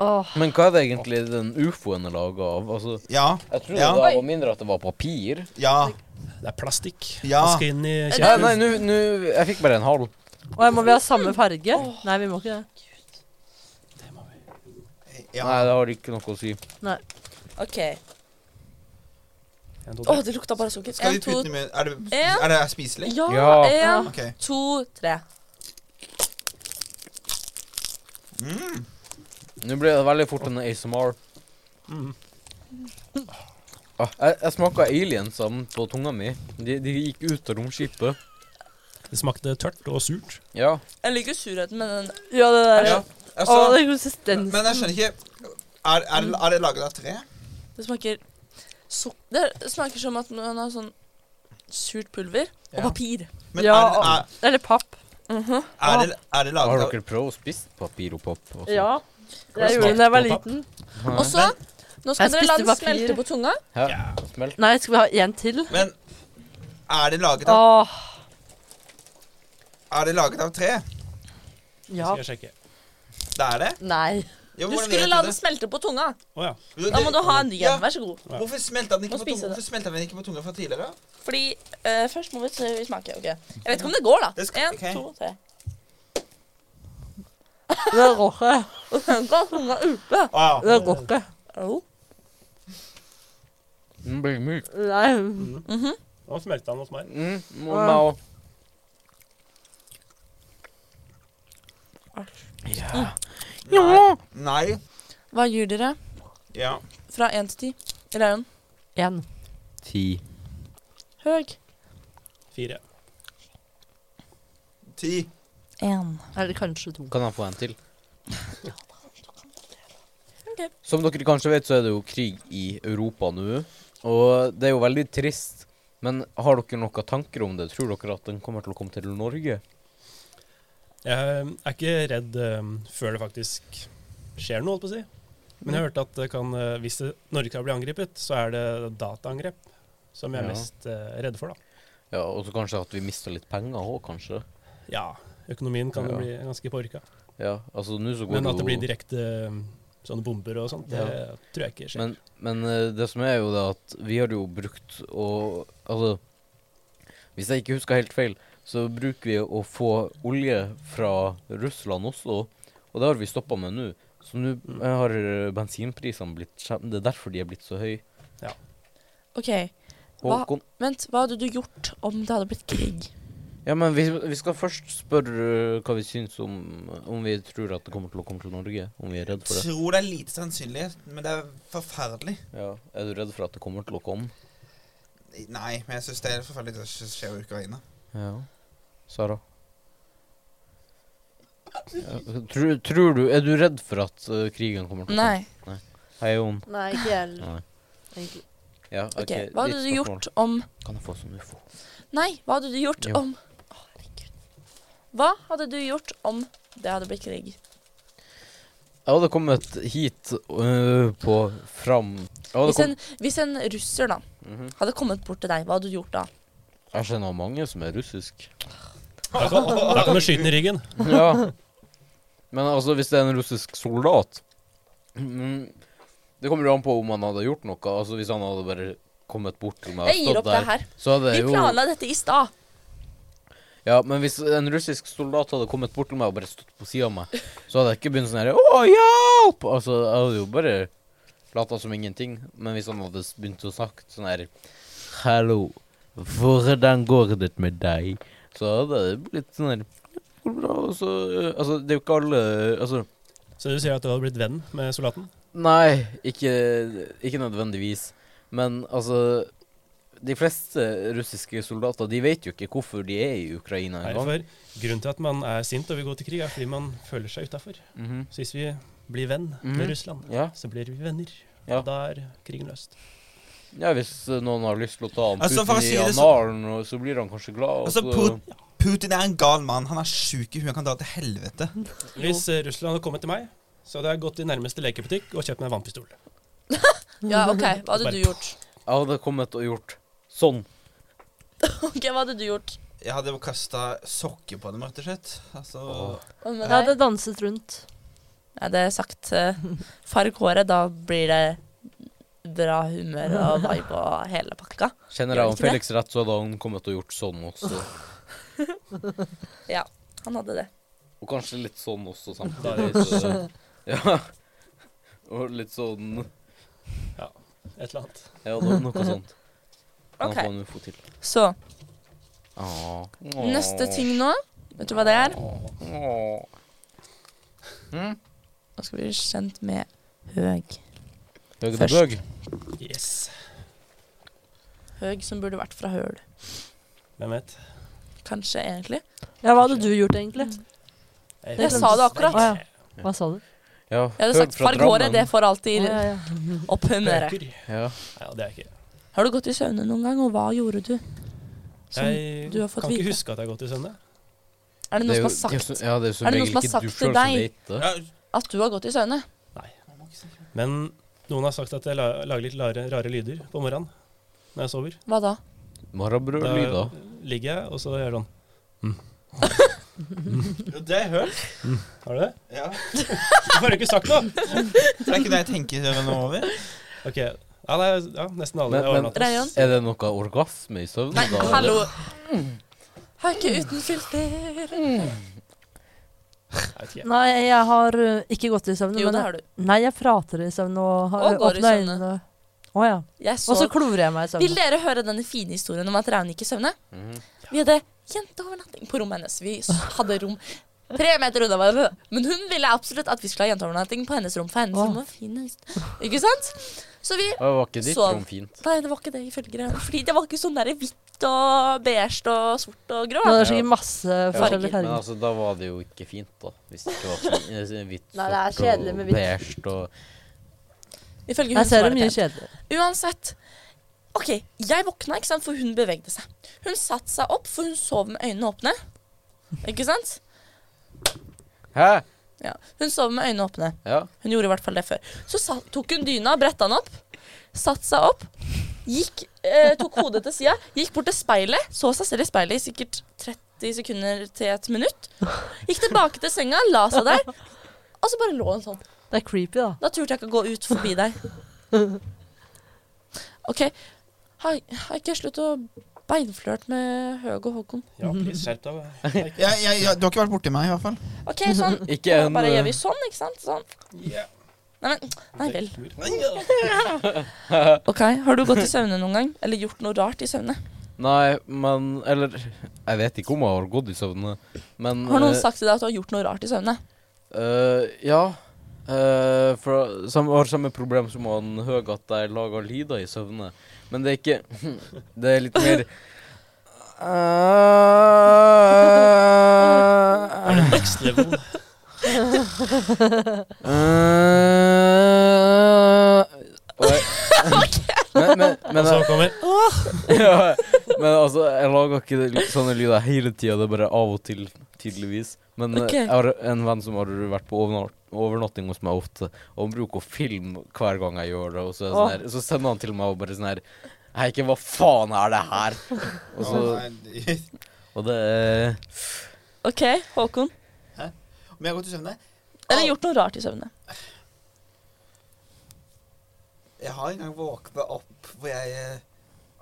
Speaker 5: Åh.
Speaker 4: Men hva er det egentlig den ufoen er laget av? Altså,
Speaker 2: Ja,
Speaker 4: jeg tror
Speaker 2: Ja.
Speaker 4: det var mindre at det var papir.
Speaker 2: ja.
Speaker 3: Det er plastikk.
Speaker 2: Ja.
Speaker 3: Det skal inn i
Speaker 4: Ja,
Speaker 3: kjeften.
Speaker 4: nei, nå nå- Jeg fikk bare en halv.
Speaker 5: Åh, må vi ha samme farge? Nei, vi må ikke det.
Speaker 2: ja.
Speaker 4: Nei, det har ikke noe å si.
Speaker 1: OK.
Speaker 3: En, to,
Speaker 1: Å,
Speaker 3: tre.
Speaker 1: det lukta bare sukker.
Speaker 2: Skal
Speaker 1: En,
Speaker 2: vi
Speaker 1: to,
Speaker 2: putte den i munnen? Er det,
Speaker 1: En.
Speaker 2: er det spiselig?
Speaker 1: ja,
Speaker 5: eh.
Speaker 4: Ja.
Speaker 1: en,
Speaker 2: Ok.
Speaker 1: to, tre.
Speaker 4: Nå ble det veldig fort en ASMR.
Speaker 3: Mm.
Speaker 4: Ah, jeg jeg smaka aliensene på tunga mi. De, de gikk ut av romskipet.
Speaker 3: Det smakte tørt og surt.
Speaker 4: Ja.
Speaker 1: Jeg liker surheten, men den
Speaker 5: Ja, det der.
Speaker 2: Ja,
Speaker 5: Å,
Speaker 2: altså,
Speaker 5: den konsistensen.
Speaker 2: men jeg skjønner ikke Er, er, det- er det laget av tre?
Speaker 1: Det smaker suk Det smaker som at man har sånn surt pulver og
Speaker 2: Ja.
Speaker 1: papir.
Speaker 2: Men
Speaker 5: ja,
Speaker 2: er, er,
Speaker 5: eller papp.
Speaker 2: er, det, er det
Speaker 4: Har
Speaker 2: laget av
Speaker 4: dere prøvd å spise papir og papp? også?
Speaker 5: Ja.
Speaker 3: Har
Speaker 5: Jeg gjorde det
Speaker 3: du smakt
Speaker 5: da jeg var
Speaker 3: på papp?
Speaker 5: liten.
Speaker 4: Nei.
Speaker 1: Og så Nå skal
Speaker 5: Jeg
Speaker 1: dere la
Speaker 5: spiste
Speaker 1: den
Speaker 5: papir.
Speaker 1: smelte på tunga.
Speaker 4: Ja. Smelt.
Speaker 5: Nei, skal vi ha en til?
Speaker 2: Men er det laget av,
Speaker 5: Åh,
Speaker 2: er det laget av tre?
Speaker 5: ja.
Speaker 3: Skal jeg sjekke.
Speaker 2: Det er det?
Speaker 5: Nei.
Speaker 2: Jo,
Speaker 1: Du
Speaker 2: hvordan
Speaker 1: skulle
Speaker 2: vet
Speaker 1: la
Speaker 2: du
Speaker 1: den
Speaker 2: det?
Speaker 1: smelte på tunga.
Speaker 3: Å ja.
Speaker 2: Jo,
Speaker 1: Da må
Speaker 2: det-
Speaker 1: du ha en ny
Speaker 2: Ja.
Speaker 1: en. Vær så god.
Speaker 2: Hvorfor smelta den
Speaker 1: Må
Speaker 2: ikke på
Speaker 1: spise
Speaker 2: tunga?
Speaker 1: det.
Speaker 2: Hvorfor smelta den ikke på tunga fra tidligere?
Speaker 1: Fordi eh, Først må vi se vi smaker. ok Jeg vet ikke om det går, da.
Speaker 2: Det skal-
Speaker 1: En,
Speaker 2: ok.
Speaker 1: to, tre.
Speaker 5: Det er råke.
Speaker 1: Den ga tunga upe.
Speaker 4: Ah,
Speaker 2: Wow.
Speaker 5: Det er råke.
Speaker 1: Au.
Speaker 4: Den blir myk.
Speaker 5: Nei.
Speaker 3: Nå smelta den hos meg.
Speaker 4: Mm, må
Speaker 5: Ja.
Speaker 4: meg også.
Speaker 2: Nei. Nei.
Speaker 1: Hva gir dere
Speaker 2: Ja.
Speaker 1: fra én til ti? Eller er den
Speaker 5: En.
Speaker 4: Ti.
Speaker 1: høy?
Speaker 3: Fire.
Speaker 2: Ti.
Speaker 1: Én.
Speaker 5: Eller kanskje to.
Speaker 4: Kan jeg få en til?
Speaker 1: Ok.
Speaker 4: Som dere kanskje vet, så er det jo krig i Europa nå. Og det er jo veldig trist. Men har dere noen tanker om det? Tror dere at den kommer til å komme til Norge?
Speaker 3: Jeg er ikke redd eh, før det faktisk skjer noe, holdt på å si. Men jeg hørte at det kan, eh, hvis det, Norge skal bli angrepet, så er det dataangrep som jeg er
Speaker 4: Ja.
Speaker 3: mest eh, redd for, da.
Speaker 4: Ja, Og så kanskje at vi mister litt penger òg, kanskje.
Speaker 3: Ja, økonomien kan
Speaker 4: Ja.
Speaker 3: jo bli ganske porka.
Speaker 4: Ja, altså nå så går
Speaker 3: Men at det
Speaker 4: jo-
Speaker 3: blir direkte eh, sånne bomber og sånt, det
Speaker 4: Ja.
Speaker 3: tror jeg ikke skjer.
Speaker 4: Men, men eh, det som er jo det at vi har jo brukt å Altså, hvis jeg ikke husker helt feil, så bruker vi å få olje fra Russland også, og det har vi stoppa med nå. Så nå eh, har eh, bensinprisene blitt skjem- Det er derfor de er blitt så høye.
Speaker 1: OK. Hva-
Speaker 4: Håkon
Speaker 1: Vent, hva hadde du gjort om det hadde blitt krig?
Speaker 4: Ja, men vi, vi skal først spørre eh, hva vi syns om Om vi tror at det kommer til å komme til Norge. Om vi er redd for det.
Speaker 2: Tror det er lite sannsynlig, men det er forferdelig.
Speaker 4: Ja, Er du redd for at det kommer til å komme?
Speaker 2: Nei, men jeg syns det er forferdelig det som skjer i Ukraina.
Speaker 4: Ja. Sara? Tror, tror du Er du redd for at eh, krigen kommer til å komme?
Speaker 1: Nei.
Speaker 4: Hei, Jon.
Speaker 5: Nei, ikke jeg heller,
Speaker 4: Nei.
Speaker 5: egentlig.
Speaker 4: Ja,
Speaker 1: OK.
Speaker 4: ok,
Speaker 1: Hva
Speaker 4: ditt
Speaker 1: hadde du
Speaker 4: spørsmål.
Speaker 1: gjort om
Speaker 4: Kan jeg få sånn ufo?
Speaker 1: Nei, hva hadde du gjort
Speaker 4: Jo.
Speaker 1: om Å, herregud. Hva hadde du gjort om det hadde blitt krig?
Speaker 4: Jeg hadde kommet hit øh, på fram Jeg hadde Mhm.
Speaker 1: Hvis en,
Speaker 4: kommet
Speaker 1: hvis en russer da hadde kommet bort til deg, hva hadde du gjort da?
Speaker 4: Jeg kjenner mange som er russisk.
Speaker 3: Da kan, da kan du skyte den i ryggen.
Speaker 4: Ja. Men altså, hvis det er en russisk soldat mm, Det kommer jo an på om han hadde gjort noe. Altså, Hvis han hadde bare kommet bort til meg og
Speaker 1: Jeg gir opp
Speaker 4: stått
Speaker 1: det
Speaker 4: der,
Speaker 1: her.
Speaker 4: så hadde
Speaker 1: Vi
Speaker 4: jeg jo
Speaker 1: planla dette i stad.
Speaker 4: Ja, men hvis en russisk soldat hadde kommet bort til meg og bare stått på sida av meg, så hadde jeg ikke begynt sånn her Å, hjelp! Altså, jeg hadde jo bare lata som ingenting. Men hvis han hadde s- begynt å snakke sånn her Hallo, hvordan går det med deg? Så hadde det blitt sånn her «Går det bra?» og så, øh, Altså, det er jo ikke alle Altså,
Speaker 3: Så du sier at du hadde blitt venn med soldaten?
Speaker 4: nei, ikke, ikke nødvendigvis. Men altså De fleste russiske soldater, de vet jo ikke hvorfor de er i Ukraina engang.
Speaker 3: Derfor, grunnen til at man er sint og vil gå til krig, er fordi man føler seg utafor.
Speaker 4: Mhm.
Speaker 3: Så hvis vi blir venn
Speaker 4: Mhm.
Speaker 3: med Russland,
Speaker 4: Ja.
Speaker 3: så blir vi venner.
Speaker 4: Ja.
Speaker 3: Og da er krigen løst.
Speaker 4: Ja, hvis eh, noen har lyst til å ta han
Speaker 2: Altså,
Speaker 4: Putin
Speaker 2: for å si
Speaker 4: i
Speaker 2: det så-
Speaker 4: analen, og så blir han kanskje glad. og
Speaker 2: Altså,
Speaker 4: så-
Speaker 2: Put- Putin er en gal mann. Han er sjuk i huet. Han kan dra til helvete.
Speaker 3: Hvis eh, Russland hadde kommet til meg, så hadde jeg gått til nærmeste lekebutikk og kjøpt meg en vannpistol.
Speaker 1: Ja, OK. Hva hadde du gjort?
Speaker 4: Jeg hadde kommet og gjort sånn.
Speaker 1: Ok, Hva hadde du gjort?
Speaker 2: Jeg hadde kasta sokker på dem, rett og slett. Altså,
Speaker 4: Åh.
Speaker 1: Hva med
Speaker 5: Jeg hadde
Speaker 1: deg?
Speaker 5: danset rundt.
Speaker 1: Jeg hadde sagt eh, farg håret, da blir det bra humør og vibe og hele pakka.
Speaker 4: Kjenner
Speaker 1: Gjør
Speaker 4: jeg han
Speaker 1: ikke det?
Speaker 4: Felix rett, så hadde han kommet og gjort sånn også.
Speaker 1: Han hadde det.
Speaker 4: Og kanskje litt sånn også
Speaker 3: Da er
Speaker 4: samtidig.
Speaker 3: det-
Speaker 4: Så, ja. Og litt sånn
Speaker 3: Et eller annet.
Speaker 4: Ja, det var noe sånt. Kan
Speaker 1: Ok.
Speaker 4: han få til.
Speaker 1: Så
Speaker 4: Ah.
Speaker 1: neste ting nå Vet du hva det er?
Speaker 4: Åh. Hm?
Speaker 1: Nå skal vi bli kjent med Høg.
Speaker 4: Høg
Speaker 1: Først.
Speaker 4: til bøg.
Speaker 3: Yes.
Speaker 1: Høg som burde vært fra Høl.
Speaker 3: Hvem vet?
Speaker 1: Kanskje, egentlig.
Speaker 5: Ja, hva hadde du gjort, egentlig?
Speaker 1: Jeg sa det akkurat.
Speaker 5: Å, ja. Hva sa du?
Speaker 4: Ja,
Speaker 1: Jeg hadde
Speaker 4: Høg
Speaker 1: sagt
Speaker 4: fra
Speaker 1: farg håret,
Speaker 4: Drammen.
Speaker 1: det får alltid
Speaker 5: Ja, ja.
Speaker 1: opp humøret.
Speaker 3: Høker.
Speaker 4: Ja.
Speaker 3: Ja, det er ikke
Speaker 1: Har du gått i søvne noen gang, og hva gjorde du? Som,
Speaker 3: Jeg
Speaker 1: du har fått
Speaker 3: kan ikke
Speaker 1: vite.
Speaker 3: huske at jeg har gått i søvne.
Speaker 1: er det
Speaker 4: Det er
Speaker 1: noen
Speaker 4: jo-
Speaker 1: som
Speaker 4: det
Speaker 1: har
Speaker 4: er jo så-
Speaker 1: sagt
Speaker 4: Ja, det er jo som
Speaker 1: Er det noen som
Speaker 4: regel
Speaker 1: har
Speaker 4: ikke
Speaker 1: sagt
Speaker 4: du
Speaker 1: til
Speaker 4: selv som
Speaker 1: deg?
Speaker 4: vet det.
Speaker 1: at du har gått i søvne?
Speaker 3: Men noen har sagt at jeg la- lager litt rare, rare lyder på morgenen når jeg sover.
Speaker 1: Hva da?
Speaker 4: Marabrødlyder.
Speaker 3: ligger jeg, og så gjør jeg sånn.
Speaker 2: Det har jeg hørt.
Speaker 3: Har du det?
Speaker 2: Ja.
Speaker 3: Hvorfor har du ikke sagt noe?
Speaker 2: Det er ikke det jeg tenker noe over.
Speaker 3: Ok, ja, nei, ja nesten alle
Speaker 4: Men-
Speaker 3: er
Speaker 4: men-
Speaker 3: overnatta.
Speaker 1: Rayon?
Speaker 4: Er det noe orgasme i søvnen?
Speaker 1: Nei,
Speaker 4: da, eller?
Speaker 1: hallo! Høyke uten filter.
Speaker 5: Mm,
Speaker 3: Jeg vet ikke.
Speaker 5: Nei, jeg har uh, ikke gått i søvn.
Speaker 1: Jo, det
Speaker 5: men jeg-
Speaker 1: har du.
Speaker 5: Nei, jeg prater i søvn og har
Speaker 1: Og går i
Speaker 5: åpne
Speaker 1: søvne.
Speaker 5: øynene. Å ja.
Speaker 1: Jeg
Speaker 5: Og så
Speaker 1: så
Speaker 5: klorer jeg meg i
Speaker 1: Vil
Speaker 5: søvn.
Speaker 1: dere høre denne fine historien om at Raune gikk i søvne?
Speaker 4: Mhm.
Speaker 1: Vi hadde jenteovernatting på rommet hennes. Vi s- hadde rom tre meter unna hverandre. Men hun ville absolutt at vi skulle ha jenteovernatting på hennes rom. For hennes
Speaker 5: Åh.
Speaker 1: rom var finest. Ikke sant? Så vi
Speaker 4: Ja, Var ikke ditt
Speaker 1: Sov.
Speaker 4: rom fint?
Speaker 1: Nei, det var ikke det ifølge Raune. Fordi det var ikke sånn derre hvitt og beige og sort og grå.
Speaker 5: Nå er det sikkert masse
Speaker 1: Farger.
Speaker 5: forskjellige
Speaker 4: Men
Speaker 5: farger.
Speaker 4: altså, da var det jo ikke fint, da. Hvis det ikke var sånn hvitt
Speaker 5: Nei, det er
Speaker 4: sort
Speaker 5: kjedelig
Speaker 4: og
Speaker 5: med hvitt.
Speaker 4: beige og
Speaker 1: Ifølge hun
Speaker 5: Jeg
Speaker 1: så
Speaker 5: ser
Speaker 1: var
Speaker 5: det
Speaker 1: det
Speaker 5: mye
Speaker 1: pent.
Speaker 5: kjedeligere.
Speaker 1: Uansett. OK, jeg våkna, ikke sant, for hun bevegde seg. Hun satte seg opp, for hun sov med øynene åpne. Ikke sant?
Speaker 4: Hæ?
Speaker 1: Ja. Hun sov med øynene åpne.
Speaker 4: Ja.
Speaker 1: Hun gjorde i hvert fall det før. Så sa, tok hun dyna, bretta den opp, satte seg opp, gikk, eh, tok hodet til sida, gikk bort til speilet, så seg selv i speilet i sikkert 30 sekunder til et minutt. Gikk tilbake til senga, la seg der, og så bare lå hun sånn.
Speaker 5: Det er creepy, da.
Speaker 1: Da turte jeg ikke å gå ut forbi deg. OK. Har har ikke slutt å beinflørte med Høg og Håkon?
Speaker 3: Ja, please, skjerp deg. Eik.
Speaker 2: Ja, ja, ja, du har ikke vært borti meg, i hvert fall.
Speaker 1: OK, sånn.
Speaker 4: Ikke
Speaker 1: Da
Speaker 4: en
Speaker 1: bare gjør
Speaker 4: eh,
Speaker 1: vi sånn, ikke sant? Sånn.
Speaker 3: Ja.
Speaker 1: Nei, men, nei vel.
Speaker 3: Ja.
Speaker 1: OK. Har du gått i søvne noen gang? Eller gjort noe rart i søvne?
Speaker 4: Nei, men Eller Jeg vet ikke om jeg har gått i søvne, men
Speaker 1: Har noen
Speaker 4: eh,
Speaker 1: sagt til deg at du har gjort noe rart i søvne?
Speaker 4: eh, ja. Eh, for sam, har samme problem som han Høg, at jeg lager lyder i søvne. Men det er ikke Det er litt mer eh,
Speaker 3: Er det next level?
Speaker 4: Oi. Men, men,
Speaker 3: Og
Speaker 4: men,
Speaker 3: så kommer
Speaker 4: ja, men altså, jeg lager ikke det- sånne lyder hele tida. Det er bare av og til, tydeligvis. Men eh,
Speaker 1: Ok.
Speaker 4: jeg har en venn som har vært på overna- overnatting hos meg ofte, og han bruker å filme hver gang jeg gjør det. Og så, er det sånn her, så sender han til meg og bare sånn her Heiken, hva faen er det her? Og, så,
Speaker 2: Å, nei.
Speaker 4: og det er
Speaker 1: OK, Håkon.
Speaker 2: Om jeg har gått i søvne?
Speaker 1: Eller gjort noe rart i søvne?
Speaker 2: Jeg har en gang våkna opp hvor jeg eh,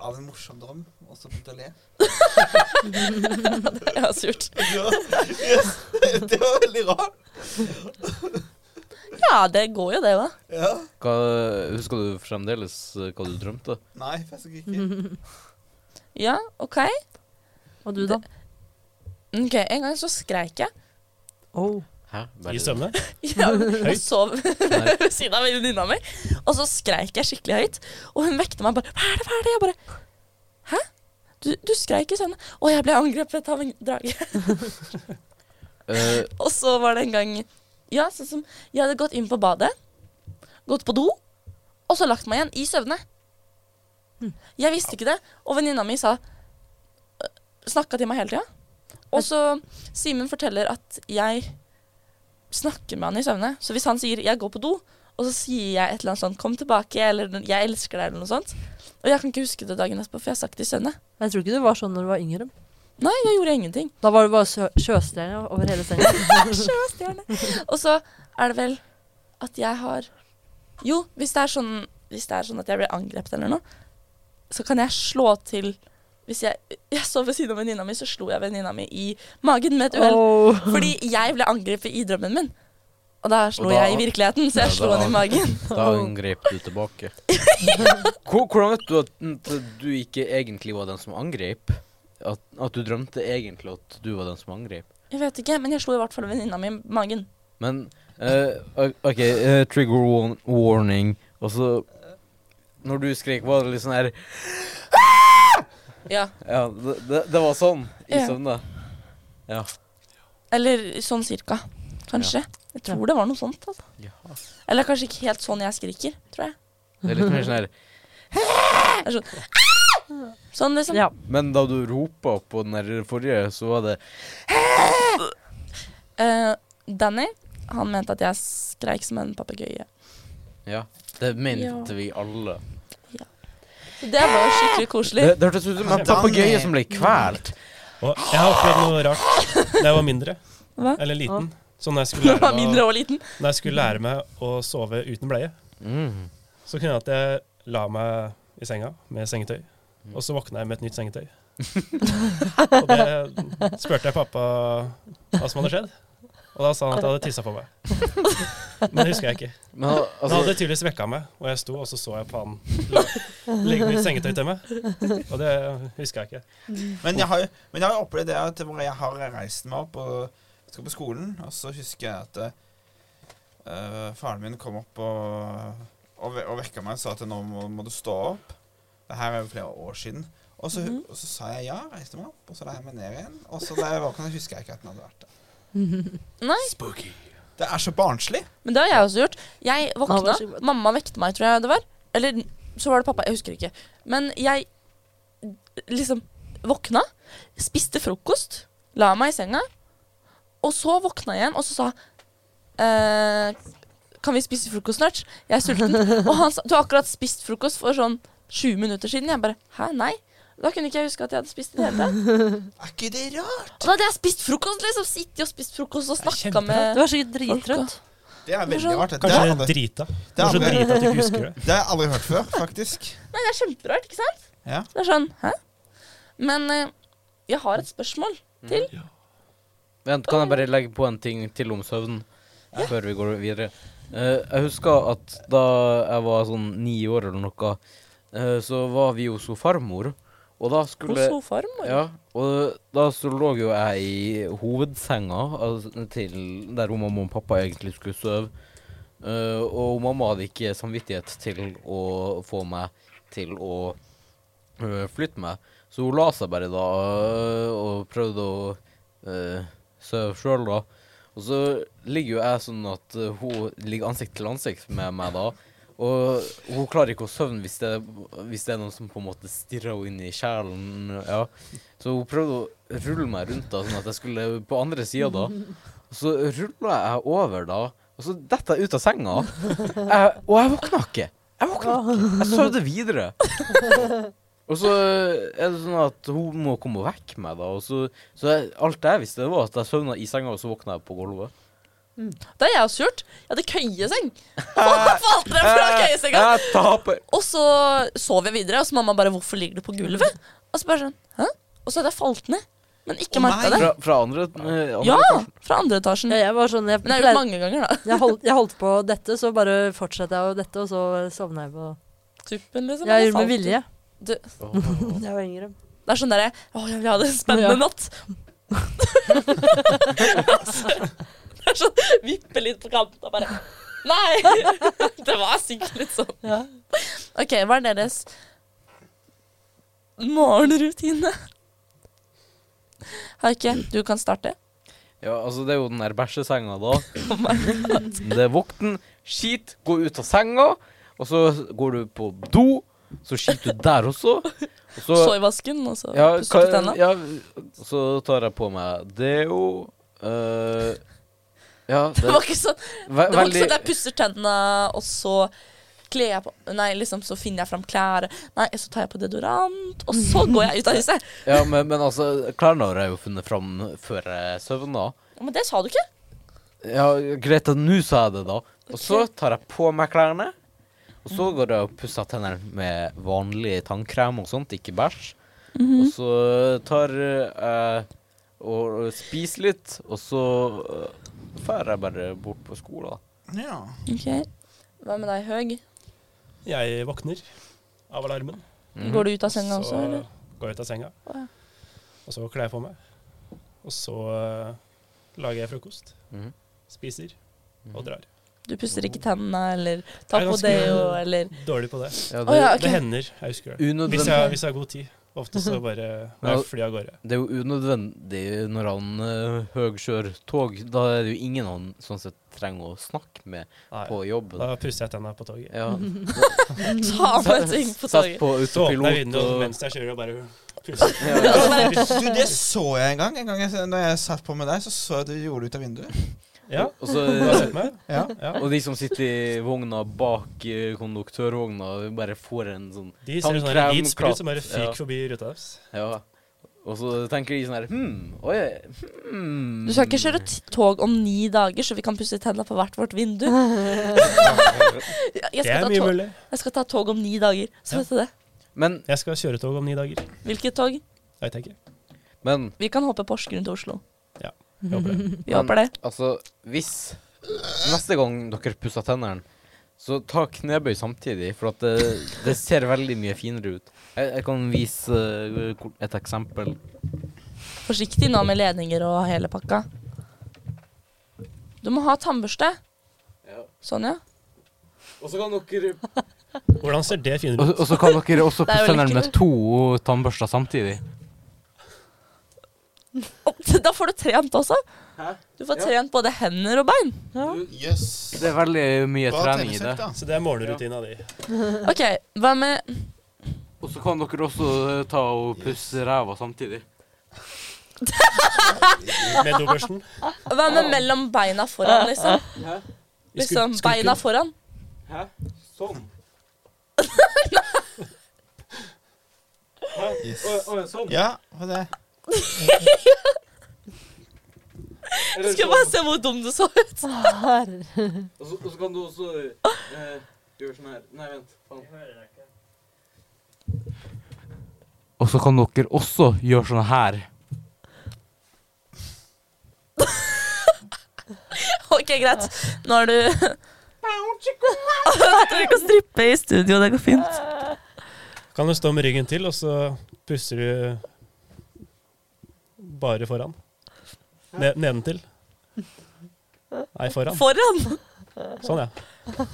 Speaker 2: av en morsom drøm, og så begynte jeg å le.
Speaker 1: Det har jeg også gjort.
Speaker 2: Ja, yes, det var veldig rart.
Speaker 1: Ja, det går jo det, da.
Speaker 2: Ja.
Speaker 4: hva, Husker du fremdeles eh, hva du drømte?
Speaker 2: Nei, faktisk ikke.
Speaker 1: Ja, OK.
Speaker 5: Og du, da?
Speaker 1: Ok, En gang så skreik jeg.
Speaker 5: Oh.
Speaker 4: Hæ?
Speaker 3: i søvne.
Speaker 1: Ja, og
Speaker 3: Høyt?
Speaker 1: sov ved siden av venninna mi. Og så skreik jeg skikkelig høyt. Og hun vekte meg bare 'Hva er det?' hva er det? Jeg bare 'Hæ? Du, du skreik i søvne.' Og jeg ble angrepet av en drage.
Speaker 4: Eh,
Speaker 1: Og så var det en gang Ja, sånn som Jeg hadde gått inn på badet, gått på do, og så lagt meg igjen i søvne. Jeg visste ikke det. Og venninna mi sa "Øh, Snakka til meg hele tida. Og så Simen forteller at jeg snakker med han i søvne. Så hvis han sier 'jeg går på do', og så sier jeg et eller annet sånt 'kom tilbake' eller 'jeg elsker deg' eller noe sånt Og jeg kan ikke huske det dagen etterpå, for jeg har sagt det i søvne.
Speaker 5: Jeg tror ikke du var sånn når du var yngre.
Speaker 1: Nei, da gjorde jeg ingenting.
Speaker 5: Da var du bare sjø sjøstjerne over hele senga.
Speaker 1: Sjøstjerne. Og så er det vel at jeg har Jo, hvis det er sånn, hvis det er sånn at jeg blir angrepet eller noe, så kan jeg slå til Hvis jeg, jeg sov ved siden av venninna mi, så slo jeg venninna mi i magen med et uhell.
Speaker 5: Åh.
Speaker 1: Fordi jeg ble angrepet i drømmen min. Og da slo
Speaker 4: Og da-
Speaker 1: jeg i virkeligheten, så jeg
Speaker 4: Ja,
Speaker 1: slo
Speaker 4: da-
Speaker 1: henne i magen.
Speaker 4: Da angrep du tilbake. Hvor- Hvordan vet du at at du ikke egentlig var den som angrep? At, at du drømte egentlig at du var den som angrep?
Speaker 1: Jeg vet ikke, men jeg slo i hvert fall venninna mi i magen.
Speaker 4: Men eh, o- OK, eh, trigger warn warning. Og så Når du skrek, var det litt sånn her
Speaker 1: Ja.
Speaker 4: Ja, det, det, det var sånn i
Speaker 1: Ja.
Speaker 4: søvne. Ja.
Speaker 1: Eller sånn cirka, kanskje. Jeg tror det var noe sånt. altså.
Speaker 4: ja.
Speaker 1: Eller kanskje ikke helt sånn jeg skriker, tror jeg.
Speaker 4: Det er litt mer sånn her
Speaker 1: Det er sånn, sånn liksom.
Speaker 5: Ja.
Speaker 4: Men da du ropa på den der forrige, så var det
Speaker 1: Eh, Danny, han mente at jeg skreik som en papegøye.
Speaker 4: Ja. Det mente
Speaker 1: Ja.
Speaker 4: vi alle.
Speaker 1: Så Det var skikkelig koselig.
Speaker 4: Det, det hørtes ut som en papegøye som ble kvalt.
Speaker 3: Og jeg har opplevd noe rart da jeg var mindre.
Speaker 1: Hva?
Speaker 3: Eller liten. Sånn da jeg skulle
Speaker 1: Når man
Speaker 3: lære
Speaker 1: var
Speaker 3: meg,
Speaker 1: mindre og liten.
Speaker 3: å- når jeg skulle lære meg å sove uten bleie,
Speaker 4: Mm.
Speaker 3: så kunne jeg at jeg la meg i senga med sengetøy. Og så våkna jeg med et nytt sengetøy. og det spurte jeg pappa hva som hadde skjedd. Og da sa han at jeg hadde tissa på meg. Men det husker jeg ikke.
Speaker 4: Men al-
Speaker 3: Han hadde
Speaker 4: altså,
Speaker 3: tydeligvis vekka meg, og jeg sto og så så jeg på han la- legge nytt sengetøy til meg. Og det husker jeg ikke.
Speaker 2: Men jeg har jo men jeg har jo opplevd det at hvor jeg har reist meg opp og skal på skolen, og så husker jeg at eh, faren min kom opp og, og, ve- og vekka meg og sa at nå må, må du stå opp. Det her er jo flere år siden. Og så, og så sa jeg ja, reiste meg opp, og så la jeg meg ned igjen. Og så da jeg våkna, husker jeg ikke at den hadde vært der.
Speaker 1: Nei,
Speaker 2: Det er så barnslig.
Speaker 1: men det har jeg også gjort. Jeg
Speaker 5: Mamma var
Speaker 1: våkna,
Speaker 5: så god.
Speaker 1: mamma vekte meg, tror jeg det var. Eller så var det pappa, jeg husker ikke. Men jeg liksom våkna, spiste frokost, la meg i senga, og så våkna jeg igjen, og så sa eh, Kan vi spise frokost snart? Jeg er sulten. Og han sa Du har akkurat spist frokost for sånn 20 minutter siden. Jeg bare Hæ, nei? Da kunne ikke jeg huske at jeg hadde spist i det hele tatt.
Speaker 2: Er ikke det rart?
Speaker 1: Og da hadde jeg spist frokost, liksom. Sittet og spist frokost og
Speaker 3: Det er
Speaker 1: snakka
Speaker 3: kjemperart.
Speaker 1: med
Speaker 5: Du var sikkert drittrøtt.
Speaker 2: Det er veldig
Speaker 1: Kanskje-
Speaker 2: rart. Det har
Speaker 3: Kanskje
Speaker 2: jeg
Speaker 3: det er
Speaker 2: aldri,
Speaker 3: drita.
Speaker 2: det har jeg
Speaker 3: Kanskje
Speaker 2: aldri,
Speaker 3: drita at du ikke husker det.
Speaker 2: det har jeg aldri hørt før, faktisk.
Speaker 1: Nei, det er kjemperart, ikke sant?
Speaker 2: Ja.
Speaker 1: Det er sånn Hæ? Men eh, jeg har et spørsmål til.
Speaker 4: vent, kan jeg bare legge på en ting til om søvn før vi går videre? Eh, jeg husker at da jeg var sånn ni år eller noe, eh, så var vi hos hun farmor, og da
Speaker 1: Hos
Speaker 4: skulle
Speaker 1: sofaen?
Speaker 4: Ja, og da så lå jo jeg i hovedsenga altså, til der hun mamma og pappa egentlig skulle sove. Eh, og mamma hadde ikke samvittighet til å få meg til å eh, flytte meg. Så hun la seg bare da eh, og prøvde å eh, sove sjøl, da. Og så ligger jo jeg sånn at eh, hun ligger ansikt til ansikt med meg da. Og hun klarer ikke å sovne hvis det, hvis det er noen som på en måte stirrer henne inn i kjælen. Ja. Så hun prøvde å rulle meg rundt da, sånn at jeg skulle på andre sida da. Og så rulla jeg over da, og så detter jeg ut av senga. Jeg, og jeg våkna ikke. Jeg våkna ikke. Jeg sovde videre. Og så er det sånn at hun må komme og vekke meg, da. Og så, så jeg, alt jeg visste, det var at jeg sovna i senga, og så våkna jeg på gulvet.
Speaker 1: Det har jeg også gjort. Jeg hadde køyeseng. Hva falt dere fra køyesenga?
Speaker 4: Jeg taper.
Speaker 1: Og så sov jeg videre, og så mamma bare 'Hvorfor ligger du på gulvet?' Og så bare sånn Hæ? Og så hadde jeg falt ned. Men ikke
Speaker 2: Å,
Speaker 1: merka
Speaker 2: nei.
Speaker 1: det.
Speaker 4: Fra, fra andre, eh, andre
Speaker 1: Ja! Fra andre etasjen. Mm. Men
Speaker 5: Ja, jeg var sånn jeg,
Speaker 1: det har jeg gjort
Speaker 5: pleide-
Speaker 1: mange ganger, da.
Speaker 5: jeg, holdt, jeg holdt på dette, så bare fortsatte jeg å dette, og så sovna jeg på
Speaker 1: Tuppen, liksom.
Speaker 5: Jeg
Speaker 1: eller
Speaker 5: gjorde med
Speaker 1: falt.
Speaker 5: vilje.
Speaker 4: Åh.
Speaker 5: Jeg var yngre.
Speaker 1: Det er sånn derre Å, jeg vil ha det en spennende
Speaker 5: Ja.
Speaker 1: natt. det er sånn Vippe litt på kanten og bare Nei! det var sikkert litt sånn.
Speaker 5: Ja.
Speaker 1: OK, hva er deres morgenrutine? Haike, du kan starte.
Speaker 4: Ja, altså det er jo den der bæsjesenga da.
Speaker 1: Oh
Speaker 4: det er vokten, skit, gå ut av senga, og så går du på do, Så skiter du der også. Og så,
Speaker 1: Så i vasken, og så
Speaker 4: ja,
Speaker 1: pusser du
Speaker 4: hva-
Speaker 1: tenna.
Speaker 4: ja, så tar jeg på meg deo. eh, ja, det,
Speaker 1: Det var ikke sånn
Speaker 4: ve
Speaker 1: Det var ikke
Speaker 4: veldig
Speaker 1: sånn at jeg pusser tenna, og så kler jeg på Nei, liksom, så finner jeg fram klær. Nei, så tar jeg på deodorant, og så går jeg ut av huset.
Speaker 4: ja, men, men altså, klærne har jeg jo funnet fram før jeg søvna.
Speaker 1: Ja, Men det sa du ikke.
Speaker 4: Ja, greit at nå sa jeg det, da. Og så tar jeg på meg klærne. Og så går jeg og pusser tennene med vanlig tannkrem og sånt, ikke bæsj.
Speaker 1: Mhm.
Speaker 4: Og så tar jeg og spiser litt, og så eh, drar jeg bare bort på skolen.
Speaker 2: Ja.
Speaker 1: Ok. Hva med deg, Høg?
Speaker 3: Jeg våkner av alarmen.
Speaker 4: Mhm.
Speaker 1: Går du ut av senga også, eller?
Speaker 3: Så går jeg ut av senga.
Speaker 1: Å, ja.
Speaker 3: Og så kler jeg på meg. Og så eh, lager jeg frokost.
Speaker 4: Mhm.
Speaker 3: Spiser og drar.
Speaker 1: Du pusser ikke tennene, eller tar
Speaker 3: Jeg
Speaker 1: på
Speaker 3: er ganske-
Speaker 1: deo, eller
Speaker 3: Dårlig på det.
Speaker 4: Ja,
Speaker 1: Å ja, ok.
Speaker 3: Det hender, jeg husker det.
Speaker 4: Unødvendig.
Speaker 3: Hvis jeg, hvis jeg har god tid. Ofte så bare må jeg fly av gårde.
Speaker 4: Det er jo unødvendig når han uh, Høg kjører tog. Da er det jo ingen han sånn sett trenger å snakke med
Speaker 3: Nei.
Speaker 4: på jobben.
Speaker 3: Da pusser jeg tenna på toget.
Speaker 4: Ja.
Speaker 3: Mhm.
Speaker 1: Ta med ting på
Speaker 4: Sett
Speaker 1: toget.
Speaker 4: på
Speaker 3: Så åpner jeg
Speaker 4: autopilot
Speaker 3: vinduet
Speaker 4: og
Speaker 3: mens jeg kjører og bare pusser.
Speaker 4: ja,
Speaker 2: Altså, Du, det så jeg en gang. En gang jeg, når jeg satt på med deg, så så jeg at du gjorde det ut av vinduet.
Speaker 3: Ja.
Speaker 4: Og, så, eh,
Speaker 3: Har du sett meg?
Speaker 2: Ja.
Speaker 3: Ja.
Speaker 4: og de som sitter i vogna bak eh, konduktørvogna, bare får en sånn
Speaker 3: De ser sånn
Speaker 4: Tannkrem,
Speaker 3: rigid sprut som bare
Speaker 4: ja.
Speaker 3: fyker forbi ruta deres.
Speaker 4: Ja. Og så tenker de sånn her Hm, oi, hmm.
Speaker 1: Du skal ikke kjøre t- tog om ni dager, så vi kan pusse tenna på hvert vårt vindu. Jeg skal,
Speaker 3: Det er
Speaker 1: ta
Speaker 3: mye
Speaker 1: tog,
Speaker 3: mulig.
Speaker 1: jeg skal ta tog om ni dager. Så
Speaker 3: Ja.
Speaker 1: vet du det.
Speaker 4: Men,
Speaker 3: Jeg skal kjøre tog om ni dager.
Speaker 1: Hvilket tog?
Speaker 3: Det vet jeg ikke.
Speaker 4: men
Speaker 1: Vi kan hoppe Porsgrunn til Oslo.
Speaker 3: Jeg håper det.
Speaker 1: Vi håper det.
Speaker 4: Altså, hvis neste gang dere pusser tennene, så ta knebøy samtidig, for at det, det ser veldig mye finere ut. Jeg, jeg kan vise eh, kort- et eksempel.
Speaker 1: Forsiktig nå med ledninger og hele pakka. Du må ha tannbørste.
Speaker 4: Ja.
Speaker 1: Sånn, ja.
Speaker 4: Og så kan dere
Speaker 3: Hvordan ser det finere
Speaker 4: Og
Speaker 3: ut?
Speaker 4: så kan dere også
Speaker 1: Det er jo
Speaker 4: pusse tennene
Speaker 1: lekkert.
Speaker 4: med to tannbørster samtidig.
Speaker 1: Og Da får du trent også.
Speaker 4: Hæ?
Speaker 1: Du får
Speaker 4: Ja.
Speaker 1: trent både hender og bein.
Speaker 2: Yes.
Speaker 4: Det er veldig mye
Speaker 2: Bra
Speaker 4: trening i det.
Speaker 2: treningsøkt, da.
Speaker 3: Så det er morgenrutina di.
Speaker 1: OK, hva med
Speaker 4: Og så kan dere også eh, ta og pusse ræva samtidig.
Speaker 3: Med dobørsten.
Speaker 1: Hva med mellom beina foran, liksom?
Speaker 3: I skulp-
Speaker 1: Liksom
Speaker 3: skulken.
Speaker 1: beina foran.
Speaker 4: Hæ? Sånn?
Speaker 2: Yes.
Speaker 4: sånn?
Speaker 2: Ja, for det.
Speaker 1: Jeg Skal bare se hvor dum du så ut.
Speaker 5: Herre.
Speaker 4: Og så, og så kan du også eh, gjøre sånn her. Nei, vent. Faen. Og så kan dere også gjøre sånn her.
Speaker 1: OK, greit. Nå er du Vet du, Vi kan strippe i studio, det går fint.
Speaker 3: Kan du stå med ryggen til, og så pusser du bare foran? Ne nedentil? Nei, foran.
Speaker 1: Foran
Speaker 3: Sånn, ja.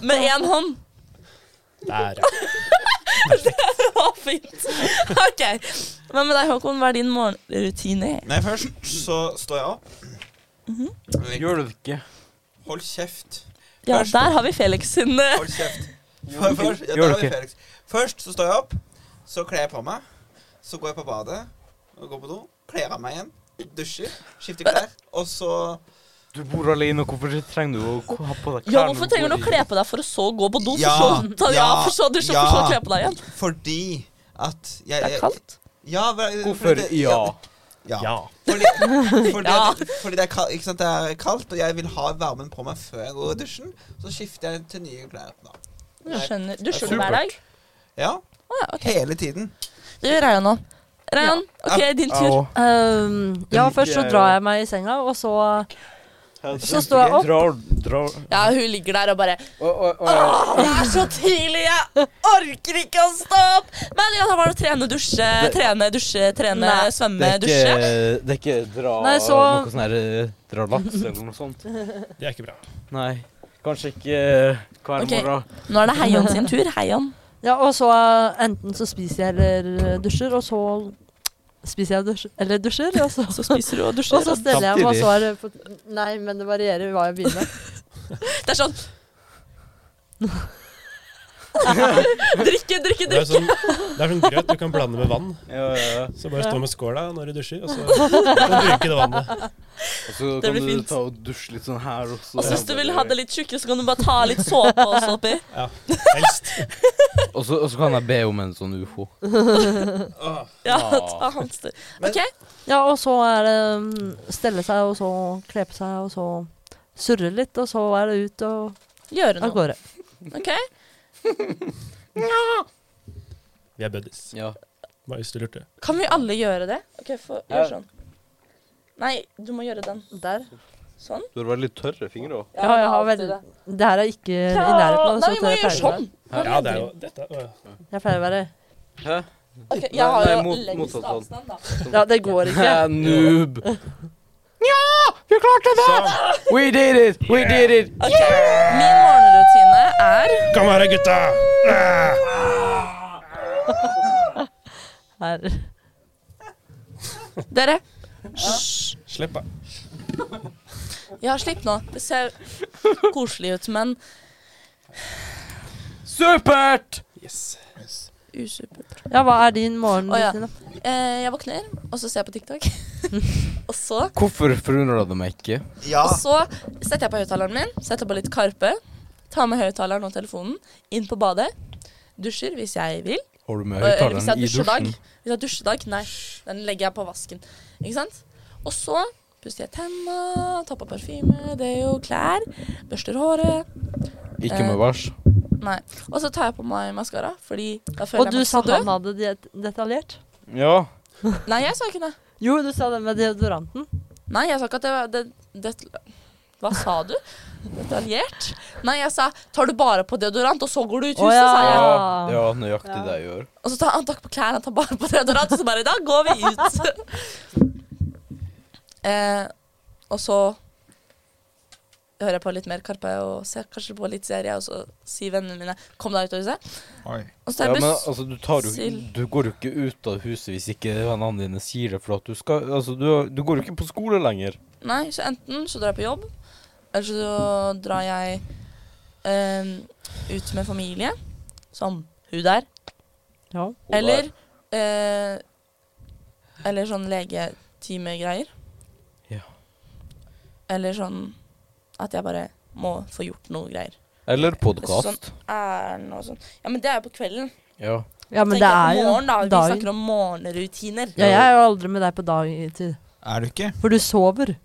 Speaker 1: med én hånd.
Speaker 3: Der, ja.
Speaker 1: Det var fint. OK. Hva med deg, Håkon? Hva er din morgenrutine?
Speaker 2: Nei, først så står jeg opp.
Speaker 4: Gjør du det ikke?
Speaker 2: Hold kjeft.
Speaker 1: Ja,
Speaker 2: Først-
Speaker 1: der har vi Felix sin eh,
Speaker 2: Hold kjeft.
Speaker 4: Gjør du
Speaker 2: Først,
Speaker 4: ikke?
Speaker 2: ja, da
Speaker 4: Gjør du
Speaker 2: har vi
Speaker 4: ikke?
Speaker 2: Felix. Først så står jeg opp, så kler jeg på meg. Så går jeg på badet og går på do. Kler av meg igjen. Dusjer. Skifter klær. Og så
Speaker 4: Du bor alene, hvorfor trenger du å k- ha på deg klær?
Speaker 1: Ja, hvorfor trenger du å kle på deg for å så gå på do? For så
Speaker 2: Ja,
Speaker 1: ta, ja,
Speaker 2: ja,
Speaker 1: for så dusje, og
Speaker 2: ja.
Speaker 1: for så kle på deg igjen?
Speaker 2: fordi at jeg
Speaker 1: Det er kaldt.
Speaker 2: Ja, hva-
Speaker 4: Hvorfor?
Speaker 2: fordi det-
Speaker 4: Ja.
Speaker 2: ja.
Speaker 3: ja.
Speaker 2: Fordi, fordi,
Speaker 1: Ja.
Speaker 2: at, fordi det, er kaldt, ikke sant? det er kaldt, og jeg vil ha varmen på meg før jeg går i dusjen. Så skifter jeg til nye klær. da.
Speaker 1: Du skjønner. Dusjer du
Speaker 4: Supert.
Speaker 1: hver dag?
Speaker 2: Ja,
Speaker 1: Å ja, ok.
Speaker 2: hele tiden.
Speaker 1: Det gjør jeg jo nå. Rayan, OK, din tur.
Speaker 5: Um, ja, først så drar jeg meg i senga, og så Så står jeg opp.
Speaker 4: Drar, drar.
Speaker 1: Ja, hun ligger der og bare
Speaker 4: Å, å, å,
Speaker 1: «Åh, Det er så tidlig, jeg orker ikke å stå opp! Men ja, da var det å trene, dusje,
Speaker 4: Det-
Speaker 1: trene, dusje, trene,
Speaker 5: Nei.
Speaker 1: svømme,
Speaker 4: Det er
Speaker 1: dusje.
Speaker 4: ikke, det er ikke dra
Speaker 5: Nei, så-
Speaker 4: noe sånn her eh, Dra laks eller noe sånt.
Speaker 3: Det er ikke bra.
Speaker 4: Nei. Kanskje ikke eh, hver
Speaker 1: Ok.
Speaker 4: morgen.
Speaker 1: Nå er det Heian sin tur. Heian.
Speaker 5: Ja, og så eh, enten så spiser jeg eller eh, dusjer, og så spiser jeg og dusjer, eller dusjer, og så
Speaker 1: Så spiser du og
Speaker 5: og
Speaker 1: dusjer.
Speaker 5: så steller jeg meg, og
Speaker 4: Samtidig.
Speaker 5: så er det på Nei,
Speaker 1: sånn-
Speaker 5: men det varierer hva jeg begynner med.
Speaker 1: Det er sånn Drikke, drikke,
Speaker 3: Det
Speaker 1: drikke.
Speaker 3: er sånn, det er sånn grøt du kan blande med vann.
Speaker 4: Ja, ja, ja.
Speaker 3: Så bare stå med skåla når du dusjer, og så kan du drikke det vannet.
Speaker 4: Og så
Speaker 1: Det
Speaker 4: kan
Speaker 1: blir
Speaker 4: du
Speaker 1: fint.
Speaker 4: ta og dusje litt sånn her også.
Speaker 1: Og så hvis du vil ha det litt tjukkere, så kan du bare ta litt såpe også oppi.
Speaker 3: Helst.
Speaker 4: Og så, og så kan jeg be om en sånn ufo.
Speaker 2: Åh.
Speaker 1: Ja,
Speaker 4: Ah.
Speaker 1: ta hamster.
Speaker 2: Men-
Speaker 1: OK.
Speaker 5: Ja, og så er det mm, stelle seg, og så kle på seg, og så surre litt, og så er det ut og
Speaker 1: Gjøre
Speaker 5: av
Speaker 1: noe.
Speaker 5: gårde.
Speaker 1: OK?
Speaker 3: Vi er buddies.
Speaker 4: Ja.
Speaker 3: Bare hvis du lurte.
Speaker 1: Kan vi alle gjøre det? OK, få gjør sånn. Nei, du må gjøre den.
Speaker 5: Der.
Speaker 1: Sånn.
Speaker 4: Du har veldig tørre fingre òg.
Speaker 5: Ja, jeg har
Speaker 1: alltid
Speaker 5: veldig
Speaker 1: det.
Speaker 5: Det her er ikke i
Speaker 1: Ja,
Speaker 5: nærheten av
Speaker 1: Nei,
Speaker 5: sånn
Speaker 1: vi må
Speaker 5: jeg
Speaker 1: gjøre
Speaker 5: pleier å være.
Speaker 1: sånn. Hva
Speaker 3: Ja, det
Speaker 1: mener
Speaker 3: er
Speaker 1: du?
Speaker 3: jo dette. er jo-
Speaker 5: Jeg pleier å være
Speaker 4: Hæ?
Speaker 1: Ok,
Speaker 4: Nei,
Speaker 1: jeg har
Speaker 4: nei,
Speaker 1: jo
Speaker 4: mot-
Speaker 1: lengst
Speaker 4: motsatt hånd.
Speaker 1: avstand, da.
Speaker 5: Ja, det går ikke.
Speaker 4: Hæ, noob.
Speaker 3: Så
Speaker 1: Sånn.
Speaker 4: We did it! We did it!
Speaker 1: Ok, Min morgenrutine er
Speaker 3: kom her, da, gutta! Ah!
Speaker 5: Her.
Speaker 1: Dere,
Speaker 3: Slipp, da.
Speaker 1: jeg har slipp nå. Det ser koselig ut, men
Speaker 4: Supert!
Speaker 3: Yes.
Speaker 1: usupert.
Speaker 5: Ja, hva er din morgen,
Speaker 1: Å, ja.
Speaker 5: Kristine?
Speaker 1: Eh, jeg våkner, og så ser jeg på TikTok. og så
Speaker 4: Hvorfor forundra det meg ikke?
Speaker 2: Ja.
Speaker 1: Og så setter jeg på høyttaleren min, setter på litt Karpe, tar med høyttaleren og telefonen, inn på badet, dusjer hvis jeg vil.
Speaker 4: Har du med
Speaker 1: Eh, Eller hvis jeg har
Speaker 4: høyttaleren i
Speaker 1: dusjedag.
Speaker 4: dusjen?
Speaker 1: Hvis jeg har dusjedag, nei, den legger jeg på vasken. Ikke sant? Og så pusser jeg tenna, tar på parfyme, deo, klær, børster håret.
Speaker 4: Ikke med bæsj?
Speaker 1: Nei. Og så tar jeg på meg maskara, fordi da
Speaker 5: Og
Speaker 1: føler
Speaker 5: du
Speaker 1: jeg meg
Speaker 5: sa
Speaker 1: så
Speaker 5: han
Speaker 1: død.
Speaker 5: hadde det detaljert?
Speaker 4: Ja.
Speaker 1: Nei, jeg sa ikke det.
Speaker 5: Jo, du sa det med deodoranten.
Speaker 1: Nei, jeg sa ikke at det var det, det, Hva sa du? Detaljert? Nei, jeg sa 'tar du bare på deodorant, og så går du ut
Speaker 5: Å,
Speaker 1: huset', sa jeg.
Speaker 5: Ja.
Speaker 4: Ja, ja nøyaktig det jeg gjør.
Speaker 1: Og så tar han takk på klærne, han tar bare på deodorant, og så bare Da går vi ut. eh, og så hører jeg på litt mer Karpe og ser kanskje på litt serie, og så sier vennene mine 'kom deg ut av huset'.
Speaker 2: Oi.
Speaker 1: Og så
Speaker 4: Ja,
Speaker 1: tar jeg
Speaker 4: men
Speaker 1: buss.
Speaker 4: altså, du, tar jo,
Speaker 1: Sild.
Speaker 4: du går jo ikke ut av huset hvis ikke vennene dine sier det. For at du, skal, altså, du, du går jo ikke på skole lenger.
Speaker 1: Nei, så enten så drar jeg på jobb, eller så drar jeg eh, ut med familie, som hun der,
Speaker 5: Ja.
Speaker 1: eller eh, Eller sånn legetimegreier.
Speaker 4: Ja.
Speaker 1: Eller sånn at jeg bare må få gjort noe greier.
Speaker 4: Eller
Speaker 1: Sånn.
Speaker 4: podkast.
Speaker 1: Ærend og sånn. Ja, men det er jo på kvelden.
Speaker 4: Ja.
Speaker 5: ja, men
Speaker 1: Tenk
Speaker 5: det
Speaker 1: at
Speaker 5: er jo
Speaker 1: morgen, da. Vi
Speaker 5: dagen.
Speaker 1: snakker om morgenrutiner.
Speaker 5: Ja, jeg er jo aldri med deg på dagtid.
Speaker 2: Er du ikke?
Speaker 5: For du sover.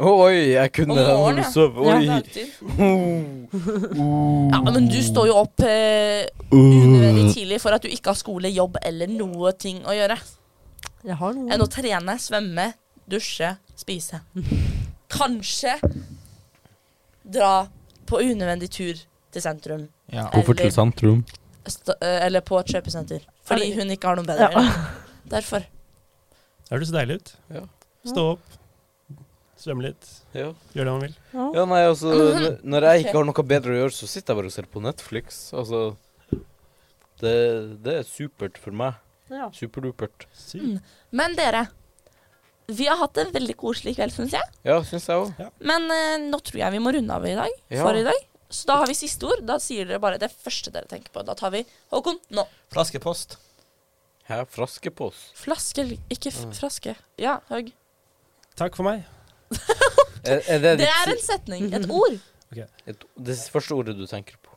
Speaker 4: Oi, jeg kunne
Speaker 1: Om morgenen,
Speaker 4: den
Speaker 1: ja.
Speaker 4: sove.
Speaker 5: Ja,
Speaker 4: Oi.
Speaker 1: Dagtid.
Speaker 4: Oh.
Speaker 1: Ja, men du står jo opp eh,
Speaker 4: Uh.
Speaker 1: unødig tidlig for at du ikke har skole, jobb eller noe ting å gjøre.
Speaker 5: Jeg har noe.
Speaker 1: Enn å trene, svømme, dusje, spise. Kanskje dra på unødvendig tur til sentrum.
Speaker 2: Ja.
Speaker 4: Hvorfor til sentrum?
Speaker 1: St eh, eller på et kjøpesenter. Fordi
Speaker 5: Fordi-
Speaker 1: hun ikke har noe bedre å gjøre. Derfor.
Speaker 3: Høres så deilig ut.
Speaker 4: Ja.
Speaker 3: Stå opp, svømme litt,
Speaker 4: Ja.
Speaker 3: gjør det man vil.
Speaker 5: Ja.
Speaker 4: ja, nei, altså n- Når jeg
Speaker 1: Ok.
Speaker 4: ikke har noe bedre å gjøre, så sitter jeg bare og ser på Netflix. Altså Det, det er supert for meg.
Speaker 5: Ja.
Speaker 1: Mm.
Speaker 4: Superdupert.
Speaker 3: Sykt.
Speaker 1: Men dere, vi har hatt en veldig koselig kveld, syns jeg.
Speaker 4: Ja, syns jeg òg.
Speaker 1: Men eh, nå tror jeg vi må runde av i dag.
Speaker 4: Ja.
Speaker 1: For i dag. Så da har vi siste ord. Da sier dere bare det første dere tenker på. Da tar vi Håkon nå.
Speaker 2: Flaskepost.
Speaker 4: Her fraskepost.
Speaker 1: Flaske, eller ikke f
Speaker 4: Mm.
Speaker 1: fraske. Ja, Høg.
Speaker 3: Takk for meg.
Speaker 4: Er, er det,
Speaker 1: Det
Speaker 4: ditt
Speaker 1: er en setning. Et ord.
Speaker 4: si- et, det første ordet du tenker på?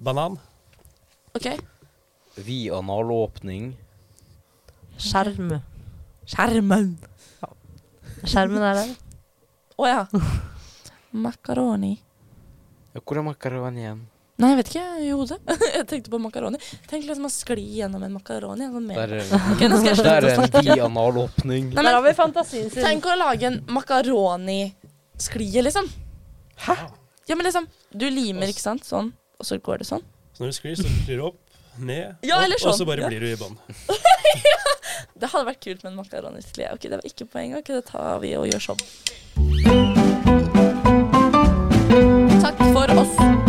Speaker 3: Banan.
Speaker 1: OK.
Speaker 4: Vid analåpning.
Speaker 5: Skjerm.
Speaker 1: Skjermen.
Speaker 5: Skjermen er der.
Speaker 1: Å ja. Makaroni.
Speaker 4: Ja, hvor er makaroni igjen?
Speaker 1: Nei, jeg vet ikke. I hodet. jeg tenkte på makaroni. Tenk liksom å skli gjennom en makaroni. en Sånn
Speaker 4: Der
Speaker 1: mer.
Speaker 4: er,
Speaker 1: Ok, nå skal jeg
Speaker 4: der
Speaker 1: slutte å
Speaker 4: er en
Speaker 1: snakke.
Speaker 4: vid analåpning.
Speaker 1: Nei,
Speaker 5: Der har
Speaker 1: men,
Speaker 5: vi fantasien sin.
Speaker 1: tenk å lage en makaronisklie, liksom.
Speaker 3: Hæ?
Speaker 1: Ja, men liksom Du limer, ikke sant? Sånn. Og så går det sånn.
Speaker 3: Så når du sklir, så sklir du opp, ned,
Speaker 1: Ja, eller
Speaker 3: opp, og
Speaker 1: sånn.
Speaker 3: så bare
Speaker 1: Ja.
Speaker 3: blir du i bånn.
Speaker 1: Det hadde vært kult med en makaronisklie. Ok, det var ikke poenget. Ok, det tar vi og gjør sånn. Takk for oss.